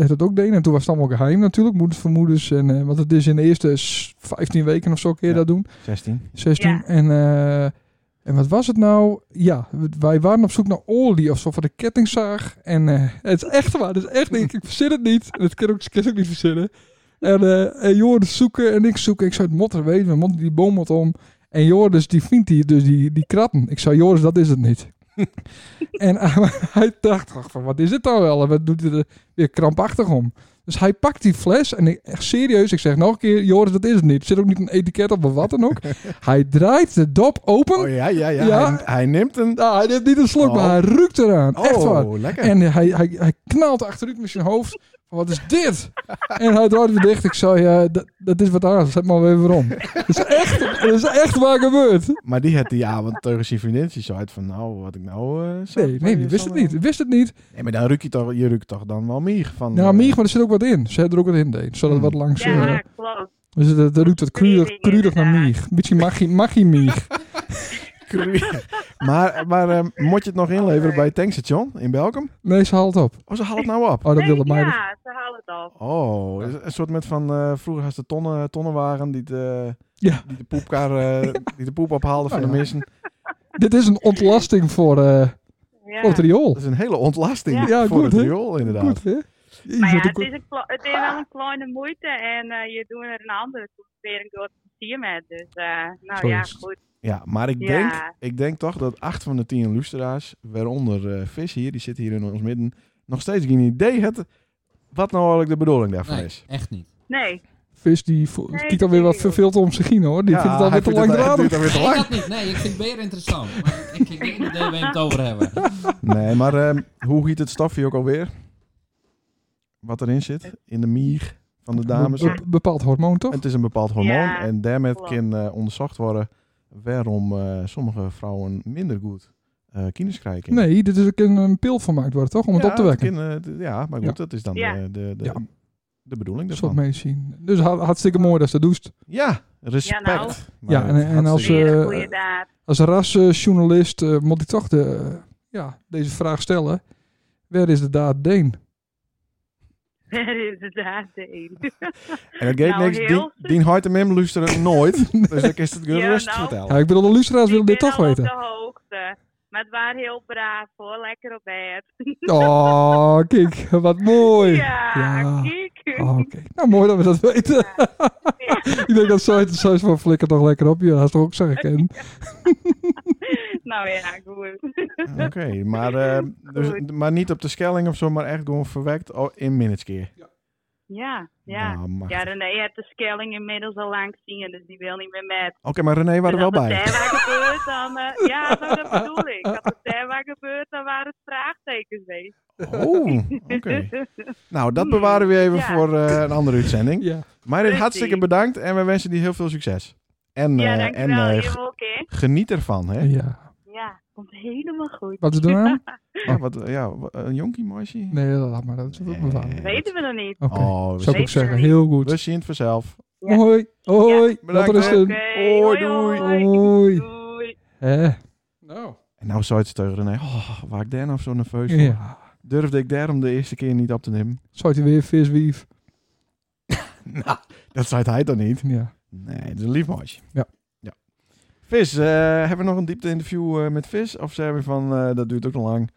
het, het ook deed. En toen was het allemaal geheim natuurlijk. Moeders voor moeders. En, eh, want het is in de eerste s- 15 weken of zo kun je Ja. dat doen. 16. 16. Ja. En, eh, en wat was het nou? Ja, w- wij waren op zoek naar olie of zo van de kettingzaag. En eh, het is echt waar. Het is echt niet. Ik verzin het niet. Dat kan ook, ik kan het ook niet verzinnen. En, eh en Joris zoeken en ik zoeken. Ik zou het motten weten. We motten die boom wat om. En Joris die vindt die, dus die, die kratten. Ik zei, Joris, dat is het niet. en hij, hij dacht, ach, van, wat is dit dan wel? En wat doet hij er weer krampachtig om? Dus hij pakt die fles en ik, echt serieus, ik zeg nog een keer, Joris, dat is het niet. Er zit ook niet een etiket op of wat dan ook. Hij draait de dop open. Oh ja, ja, ja. Ja. Hij, hij neemt een... Nou, hij neemt niet een slok, Oh. maar hij rukt eraan. Echt waar. Oh, lekker. En hij, hij, hij knalt achteruit met zijn hoofd. Van, Wat is dit? en hij draait weer dicht. Ik zei, ja, dat, dat is wat anders. Zet maar weer weer om. dat, is echt, dat is echt waar gebeurd. Maar die had die avond tegen zijn vriendinnetje zo uit van, nou, wat ik nou... eh, zou- Nee, nee, die wist het niet. Die Wist het niet. Nee, maar dan ruk je toch, je ruikt toch dan wel mier van... Nou, eh, Mieg, maar er zit ook wat in. Ze had er ook wat in deed. Zodat het Hmm. wat langs... eh, ja, klopt. dus dat, dat ruikt wat kruidig, Verdediging, kruidig naar inderdaad. Mieg. Een beetje magie, magie Mieg. Cru- maar maar eh, moet je het nog inleveren bij het tankstation in Belkum? Nee, ze haalt op. Oh, ze halen het nou op. Oh, dat Nee, wilde mij... ja, ze halen het al. Oh, is het een soort met van eh, vroeger had ze de tonnen, tonnenwagen die de, Ja. die de poepkar eh, die de poep ophaalde van Oh, ja. de mensen. Dit is een ontlasting voor, eh Ja. voor het riool. Dat is een hele ontlasting Ja. Ja, voor goed, hè? het riool inderdaad. Goed, hè? Maar ja, Iemand het die- is, een kle- het is wel een kleine moeite en eh, je doet er een andere doet weer een groot plezier met. Dus eh, nou Zo ja, is het. goed. Ja, maar ik Ja. denk, ik denk toch dat acht van de tien luisteraars, waaronder eh Vis hier, die zit hier in ons midden, nog steeds geen idee hebben wat nou eigenlijk de bedoeling daarvan Nee, is. echt niet. Nee, Vis die vo- Nee, kijkt alweer wat serieus. verveeld om zich heen hoor. Die Ja, vindt het alweer hij te vindt het- hij langdradig. vindt het alweer te lang. Nee, dat niet. Nee, ik vind beer interessant. Maar ik heb geen idee waar we het over hebben. Nee, maar ehm, hoe giet het stofje ook alweer? Wat erin zit? In de mier van de dames. Be- bepaald hormoon toch? Het is een bepaald hormoon Ja, en daarmee klopt. kan eh, onderzocht worden waarom eh, sommige vrouwen minder goed eh kinders krijgen. Nee, dit is er kan een pil van gemaakt worden toch? Om het Ja, op te wekken. kan, eh, d- ja, maar goed, Ja. dat is dan Ja. eh, de, de, Ja. de bedoeling Een soort daarvan. medicijn. Dus ha- hartstikke mooi dat ze dat doet. Ja, respect. Ja, nou. Maar Ja, en- en hartstikke- als, eh, Weer een goede daad. Als rasjournalist eh moet ik toch de, eh, ja, deze vraag stellen. Waar is de daad Deen? Oh. Dat is inderdaad de enige. En dat geeft Nou, niks. Dien, heel- Dien Hart en Mim luisteren nooit. Dus dan is het gerust Ja, rustig nou. vertellen. Ja, ik bedoel, de luisteraars willen Ik dit ben toch al weten. op de hoogte. Maar het waren heel braaf hoor. Lekker op bed. Oh, kijk, wat mooi. Ja, Ja. kijk. Oh, kijk. Nou, mooi dat we dat weten. ik denk dat zoiets zoiets van flikker toch lekker op. Ja, dat is toch ook zeggen. En, Nou ja, goed. Oké, maar, eh, dus, Goed. maar niet op de Schelling of zo, maar echt gewoon verwekt oh, in minnetskeer. Ja, ja. Nou, machtig. Ja, René heeft de skelling inmiddels al lang gezien, dus die wil niet meer met. Oké, maar René was er wel Dus als bij. het daar waar gebeurt, dan... eh, ja, nou, dat bedoel ik. Als het daar waar gebeurt, dan waren het vraagtekens geweest. Oh, oké. Nou, dat bewaren we even Ja. voor eh, een andere uitzending. ja. Maar Precies. hartstikke bedankt en we wensen die heel veel succes. En, ja, eh, en dankjewel. eh, je g- ook, hè? geniet ervan. Hè? ja. Ja, komt helemaal goed. Wat is de naam? Ja, wat, ja, wa- een jonkie meisje? Oh. Nee, laat maar. Dat is Nee. bewaard. Nee. Weten we nog niet. Oké, Oh, zou we ik ook Weet je zeggen. niet. Heel We goed. zien het vanzelf. Ja. Hoi, hoi. Laat Bedankt, rusten. Oké, hoi, doei. hoi. Hoi. Doei. Hè. Nou. En nou zou het tegen René, oh, waar ik daar nou zo nerveus voor? Ja. Durfde ik daarom de eerste keer niet op te nemen? Zou hij weer viswief? Nou, dat zei hij dan niet. Ja. Nee, dat is een lief meisje. Ja. ja. Vis, eh, hebben we nog een diepte interview eh, met Vis? Of zijn we van, eh, dat duurt ook nog lang?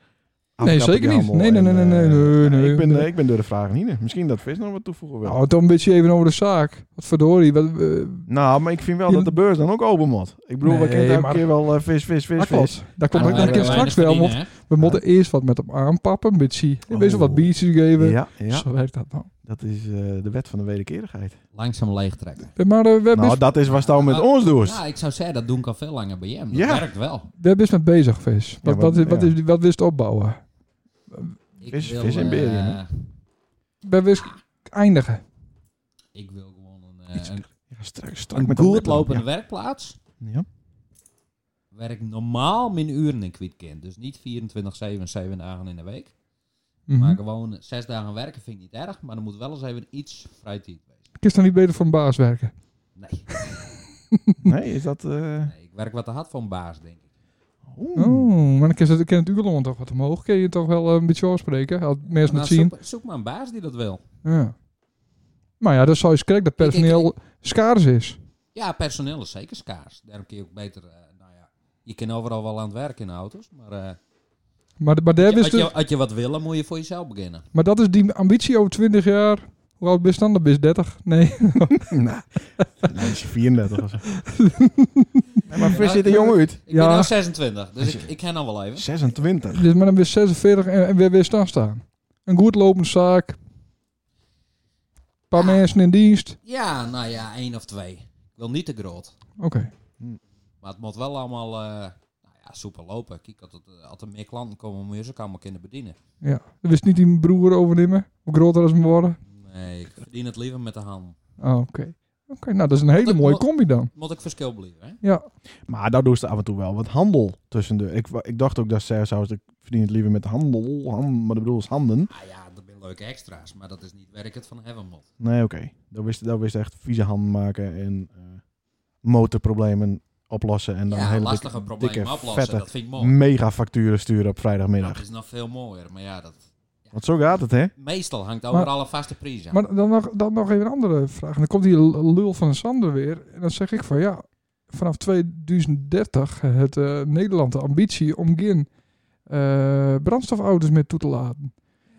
Afkappen zeker die niet. handel Nee, nee, en, nee, nee, eh, nee, nee, nee, ik, ben, nee. eh, ik ben door de vragen niet. Misschien dat Vis nog wat toevoegen wil. Nou, Nou, toch een beetje even over de zaak. Wat verdorie. Wat, eh, Nou, maar ik vind wel Je- dat de beurs dan ook open moet. Ik bedoel, we Nee, kennen elke maar- keer wel eh, Vis, Vis, Vis, dat Vis. klopt. Dat klopt. Ja, Dat kan maar ik we straks wel. want We moeten eerst wat met hem aanpappen. Een beetje, een beetje Oh. wat biertjes geven. Ja, ja, Zo werkt dat nou. dat is eh, de wet van de wederkerigheid. Langzaam leegtrekken. Maar eh, we hebben Nou, dat is wat Stouw met Ah, ons doet. Ja, ik zou zeggen, dat doen ik al veel langer bij hem. Dat Ja. werkt wel. Daar ben je mee bezig, Vis. Wat, Ja, wat, maar- wat, ja. is, wat wist opbouwen? Ik Vis- vis in eh, Berium, hè? We wist eindigen. ik wil gewoon een, eh, een, Ja, strak, strak een met dat goed lippen. lopende Ja. werkplaats. Ja. Waar ik normaal mijn uren in kwijt kan. Dus niet 24, 7, 7 dagen in de week. Mhm. Maar gewoon zes dagen werken vind ik niet erg. Maar er moet wel eens even iets vrijtijd wezen. Kist dan niet beter voor een baas werken? Nee, Nee, is dat... eh, nee, ik werk wat te hard voor een baas, denk ik. oeh. Oh, maar dan kan het, kan het uurloon toch wat omhoog. Kun je toch wel eh, een beetje afspreken? Als mensen Nou, het zien. zoek, zoek maar een baas die dat wil. Ja. Maar ja, dat zou je krijgen dat Ik- ik- personeel schaars is. Ja, personeel is zeker schaars. Daarom kun je ook beter... eh, nou ja, je kan overal wel aan het werken in de auto's. Maar eh Maar, maar, daar als, wist je, het, als je wat wil, dan moet je voor jezelf beginnen. maar dat is die ambitie over 20 jaar. Hoe oud ben je dan? Dan ben je 30. Nee. Nou, nee, is 34 of zo. Nee, maar Fris zit er jong uit. Ik Ja. ben nu 26, dus ik, ik ken al wel even. 26. Dus maar dan weer 46 en, en weer weer staan staan. Een goed lopende zaak. Een Ah. paar mensen in dienst. Ja, nou ja, één of twee. Ik wil niet te groot. Oké. Maar het moet wel allemaal eh nou ja, soepel lopen. Kijk, als, het, eh, als er meer klanten komen, moet je ze ook allemaal kunnen bedienen. Ja. Dat wist niet die broer overnemen. Hoe groter als hem worden. Nee, ik verdien het liever met de hand. Ah, Oké. Oké, nou dat is een hele Wat- mooie wat- combi dan. Moet ik verschil blijven, hè? Ja. Maar daar doen ze af en toe wel wat handel tussendoor. Ik, wa- ik dacht ook dat ze zouden ik verdien het liever met handel. Ham, maar dat bedoel is handen. Ah ja, dat zijn leuke extra's, maar dat is niet werk het van hebben moet. Nee, oké. Dat wist dat wist echt vieze handen maken en eh, motorproblemen oplossen. En dan Ja, hele lastige dikke, problemen dikke, oplossen, vette dat vind ik mooi. mega facturen sturen op Dat vrijdagmiddag. is nog veel mooier, maar ja, dat... Want zo gaat het, hè? Meestal hangt overal een vaste prijs aan. Maar dan nog, dan nog even een andere vraag. En dan komt die l- lul van Sander weer. En dan zeg ik van ja, vanaf 2030 het eh, Nederland de ambitie om geen eh, brandstofauto's meer toe te laten.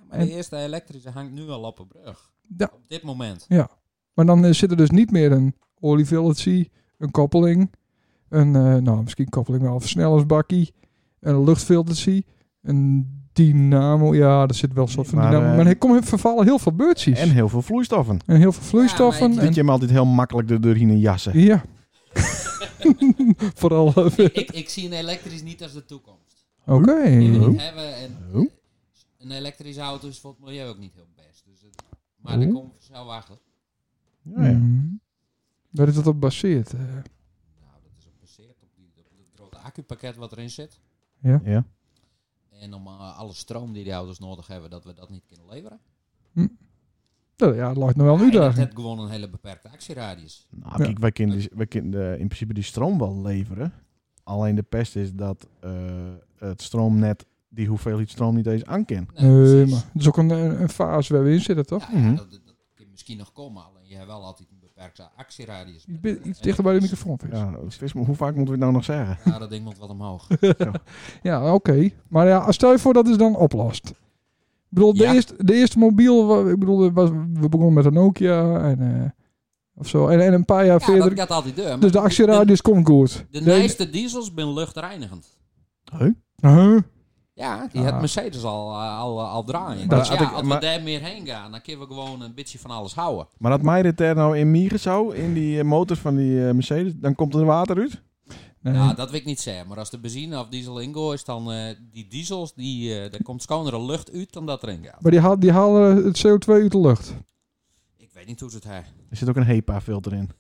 Maar de eerste elektrische hangt nu al op een brug. Ja. Op dit moment. Maar dan eh, zit er dus niet meer een olie Village, een koppeling, een, eh, nou misschien koppeling wel, een versnellersbakkie, een luchtfiltertje, een dynamo. Ja, er zit wel een soort van Maar, dynamo. eh, maar er komen vervallen heel veel beurtjes. En En, heel veel vloeistoffen. heel veel vloeistoffen. Ja, maar en- Dat je hem altijd heel makkelijk er doorheen in jassen. Ja. Vooral. eh, ik, ik zie een elektrisch niet als de toekomst. Oké. Die we niet hebben. En Oh. een elektrische auto is voor het milieu ook niet heel best. Dus het, maar daar komen we snel achter. Ja, ja. Mhm. Waar is dat op baseerd? eh? Nou, dat is gebaseerd op, die, op het grote accupakket wat erin zit. ja. En om eh, alle stroom die die auto's nodig hebben, dat we dat niet kunnen leveren. nou, ja, het lijkt nog wel een En het uitdaging. heeft gewoon een hele beperkte actieradius. Nou, kijk, wij kunnen, die- wij kunnen eh, in principe die stroom wel leveren. Alleen de pest is dat eh, het stroomnet die hoeveelheid stroom niet eens aan kan. Nee, Nou, precies. maar Oh, het is ook een, een een fase waar we in zitten, toch? Ja, Mhm. ja, dat, dat kan misschien nog komen, alleen je hebt wel altijd een beperkte actieradius. Iets bi- Iets dichter bij de microfoon. Vince. Ja, vis, maar hoe vaak moeten we het nou nog zeggen? Ja, dat ding moet wat omhoog. Ja, oké. Maar ja, stel je voor dat is dan oplost. Ik bedoel, de, Ja. eerste, de eerste mobiel, wa- ik bedoel, er was, we begonnen met een Nokia en, eh, of zo. En, en een paar jaar Ja, verder. dat gaat altijd deur. Dus de actieradius komt goed. De, de Nee, meeste diesels zijn luchtreinigend. Huh? Ja, die Ja. had Mercedes al, eh, al, eh, al draaien. Maar Dus had ja, ik- als maar- we daar meer heen gaan, dan kunnen we gewoon een beetje van alles houden. Maar dat mij dit er nou in Mieren zou, in die eh, motors van die eh, Mercedes, dan komt er water uit. Nee. Ja, dat weet ik niet zeggen. Maar als de benzine of diesel ingooit, dan eh, die diesels, die, eh, daar komt schonere lucht uit dan dat erin gaat. Maar die, haal, die halen het CO2 uit de lucht. Ik weet niet hoe ze het hebben. Er zit ook een HEPA-filter in.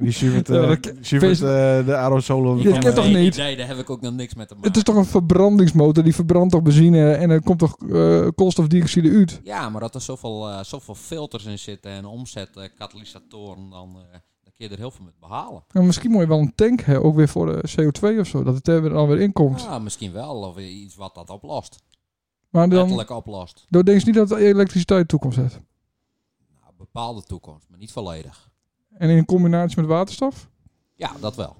die zuivert eh, Ja, dat- die zuivert, eh, de aerosolen. Dit van, kent eh, toch niet? Nee, daar heb ik ook nog niks met te maken. Het is toch een verbrandingsmotor, die verbrandt toch benzine en er komt toch eh, koolstofdioxide uit? Ja, maar dat er zoveel, eh, zoveel filters in zitten en omzet, eh, katalysatoren, dan, eh, dan kun je er heel veel mee behalen. En misschien moet je wel een tank hebben, ook weer voor eh, CO2 of zo, dat het er weer- dan weer in komt. Ja, misschien wel. Of iets wat dat oplost. maar dan, Letterlijk oplost. dan denk je niet dat elektriciteit de toekomst heeft. Nou, bepaalde toekomst, maar niet volledig. En in combinatie met waterstof? Ja, dat wel.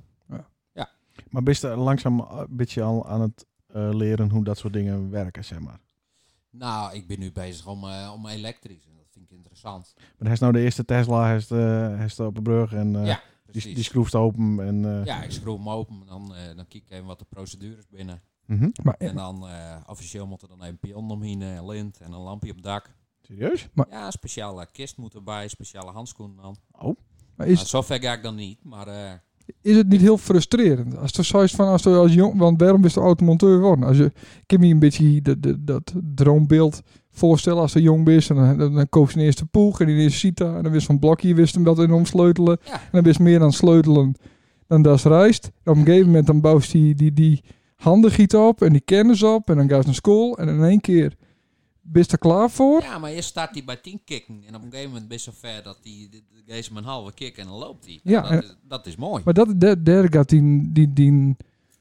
Maar ben je er langzaam eh, een beetje al aan het eh, leren hoe dat soort dingen werken, zeg maar. Nou, ik ben nu bezig om, eh, om elektrisch. En dat vind ik interessant. Maar hij is nou de eerste Tesla, hij is, eh, hij is op de brug en eh, Ja, die, precies. die schroeft open. En, eh, ja, ik schroef hem open. Dan, eh, dan kijk ik even wat de procedures binnen. mhm. Maar, En dan eh, officieel moet er dan een pion omheen, een lint en een lampje op het dak. Serieus? Ja, een speciale kist moet erbij, speciale handschoenen dan. maar Nou, is, zover ga ik dan niet, maar eh, is het niet heel frustrerend? Als er zoiets van, als je als jong, want waarom is de automonteur geworden? Als je, ik kan me een beetje dat, dat, dat droombeeld voorstellen als je jong is. En dan, dan, dan koop je een eerste poeg en die eerste Cita. En dan wist van blokje, wist hem dat in omsleutelen. Ja. En dan wist meer aan sleutelen dan dat is rijst. En op een gegeven moment dan bouwt die, die, die handen giet op en die kennis op. En dan gaat ze naar school en in één keer... Ben je er klaar voor? ja, maar eerst staat hij bij 10 kicken en op een gegeven moment ben je zover dat hij deze mijn halve kick en dan loopt hij. Ja, Nou, en- dat, is, dat is mooi. Maar dat, daar, daar gaat die, die, die,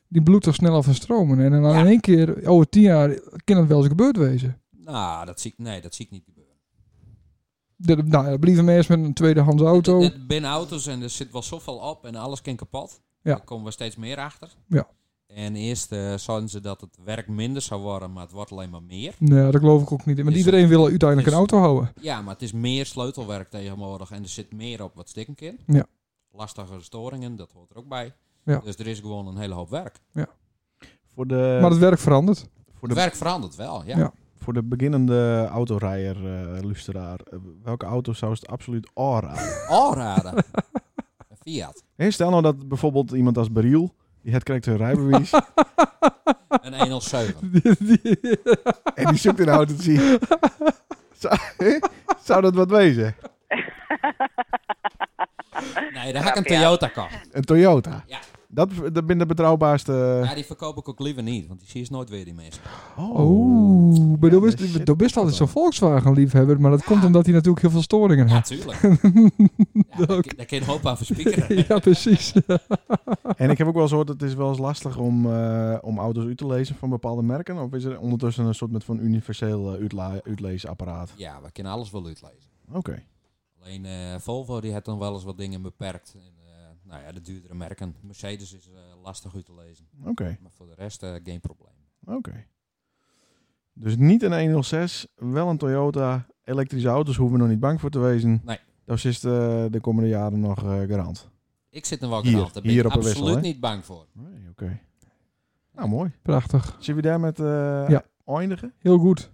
die bloed toch sneller van stromen. En dan Ja. in één keer, over tien jaar, kan het wel eens gebeurd wezen. Nou, dat zie ik, nee, dat zie ik niet gebeuren. Dat, nou, dat blijven mensen met een tweedehands auto. Het- het- binnen auto's en er zit wel zoveel op en alles kan kapot. Ja. Daar komen we steeds meer achter. Ja. En eerst eh, zouden ze dat het werk minder zou worden, maar het wordt alleen maar meer. Nee, dat geloof ik ook niet. in. Want Is iedereen wil uiteindelijk is- een auto houden. Ja, maar het is meer sleutelwerk tegenwoordig en er zit meer op wat stikken in. Ja. Lastige storingen, dat hoort er ook bij. Ja. Dus er is gewoon een hele hoop werk. Voor de, maar het werk verandert. voor Het de, werk verandert wel, ja. Ja. voor de beginnende autorijder, eh, luisteraar, eh, welke auto zou het absoluut aanraden? Aanraden. Oh, Een Fiat. Hé, stel nou dat bijvoorbeeld iemand als Beriel, die het krijgt zijn rijbewijs Een 107. en die zoekt een auto te zien. Zou, hè? zou dat wat wezen? Nee, daar heb ik een Toyota kocht. Een Toyota. Ja. Dat, dat ben de betrouwbaarste. Ja, die verkoop ik ook liever niet, want die zie je nooit weer die mensen. Oeh, maar Oh. Ja, dat best, dat shit. dat best altijd zo'n Volkswagen-liefhebber. Maar dat komt omdat hij natuurlijk heel veel storingen Ja, heeft. tuurlijk. Ja, daar, kun- daar kun je een hoop aan verspiekeren. Ja, precies. En ik heb ook wel eens gehoord dat het is wel eens lastig om, eh, om auto's uit te lezen van bepaalde merken. Of is er ondertussen een soort met van universeel eh, uitla- uitleesapparaat? Ja, we kunnen alles wel uitlezen. Oké. Alleen eh, Volvo die heeft dan wel eens wat dingen beperkt. En, eh, nou ja, de duurdere merken. Mercedes is eh, lastig uit te lezen. Oké, Maar voor de rest eh, geen probleem. oké. Dus niet een 106, wel een Toyota. Elektrische auto's hoeven we nog niet bang voor te wezen. Nee. Dat is dus de, de komende jaren nog eh, garant. Ik zit er wel Hier, aan. Daar ben hier ik op een absoluut wissel, hè? niet bang voor. Nee, oké. Nou, mooi. Prachtig. Zullen we daar met eh Ja. eindigen? Heel goed.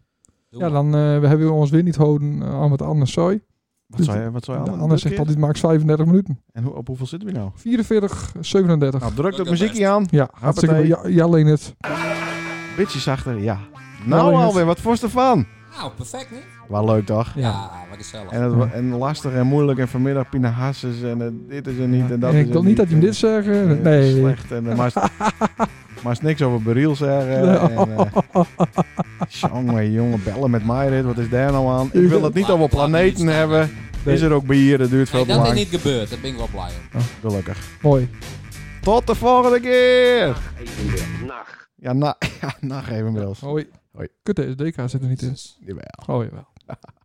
Doe Ja, maar. dan eh, we hebben ons weer niet houden eh, aan wat anders zei. Wat zou je, wat zou je aan- Anders zegt druk in? altijd max 35 minuten. En hoe, op hoeveel zitten we nou? 44, 37. Nou, druk dat Leuk, muziekje aan. Ja, hartstikke. Hoppatee. Ja, ja, alleen het. Beetje zachter, ja. Nou, Nou jongens. alweer, wat voor Stefan? Nou, perfect niet? Wel leuk toch? Ja, wat gezellig. En, het, wa- en lastig en moeilijk en vanmiddag Pina Hasses en eh, dit is er niet en dat En is ik er wil niet dat je hem dit zegt. eh, Eh, Nee. Slecht en eh, maar, is- maar is niks over Beriel zeggen. En, eh, jongen, jongen, bellen met Myrit, wat is daar nou aan? Ik wil het niet over planeten hebben. Is er ook bier, dat duurt Nee, veel te dat is lang. niet gebeurd, daar ben ik wel blij om. Gelukkig. Mooi. Tot de volgende keer! Ja, na, ja, nacht even, Bils. Hoi. Hoi. Kut, deze DK zit er niet in. Jawel. Oh, jawel.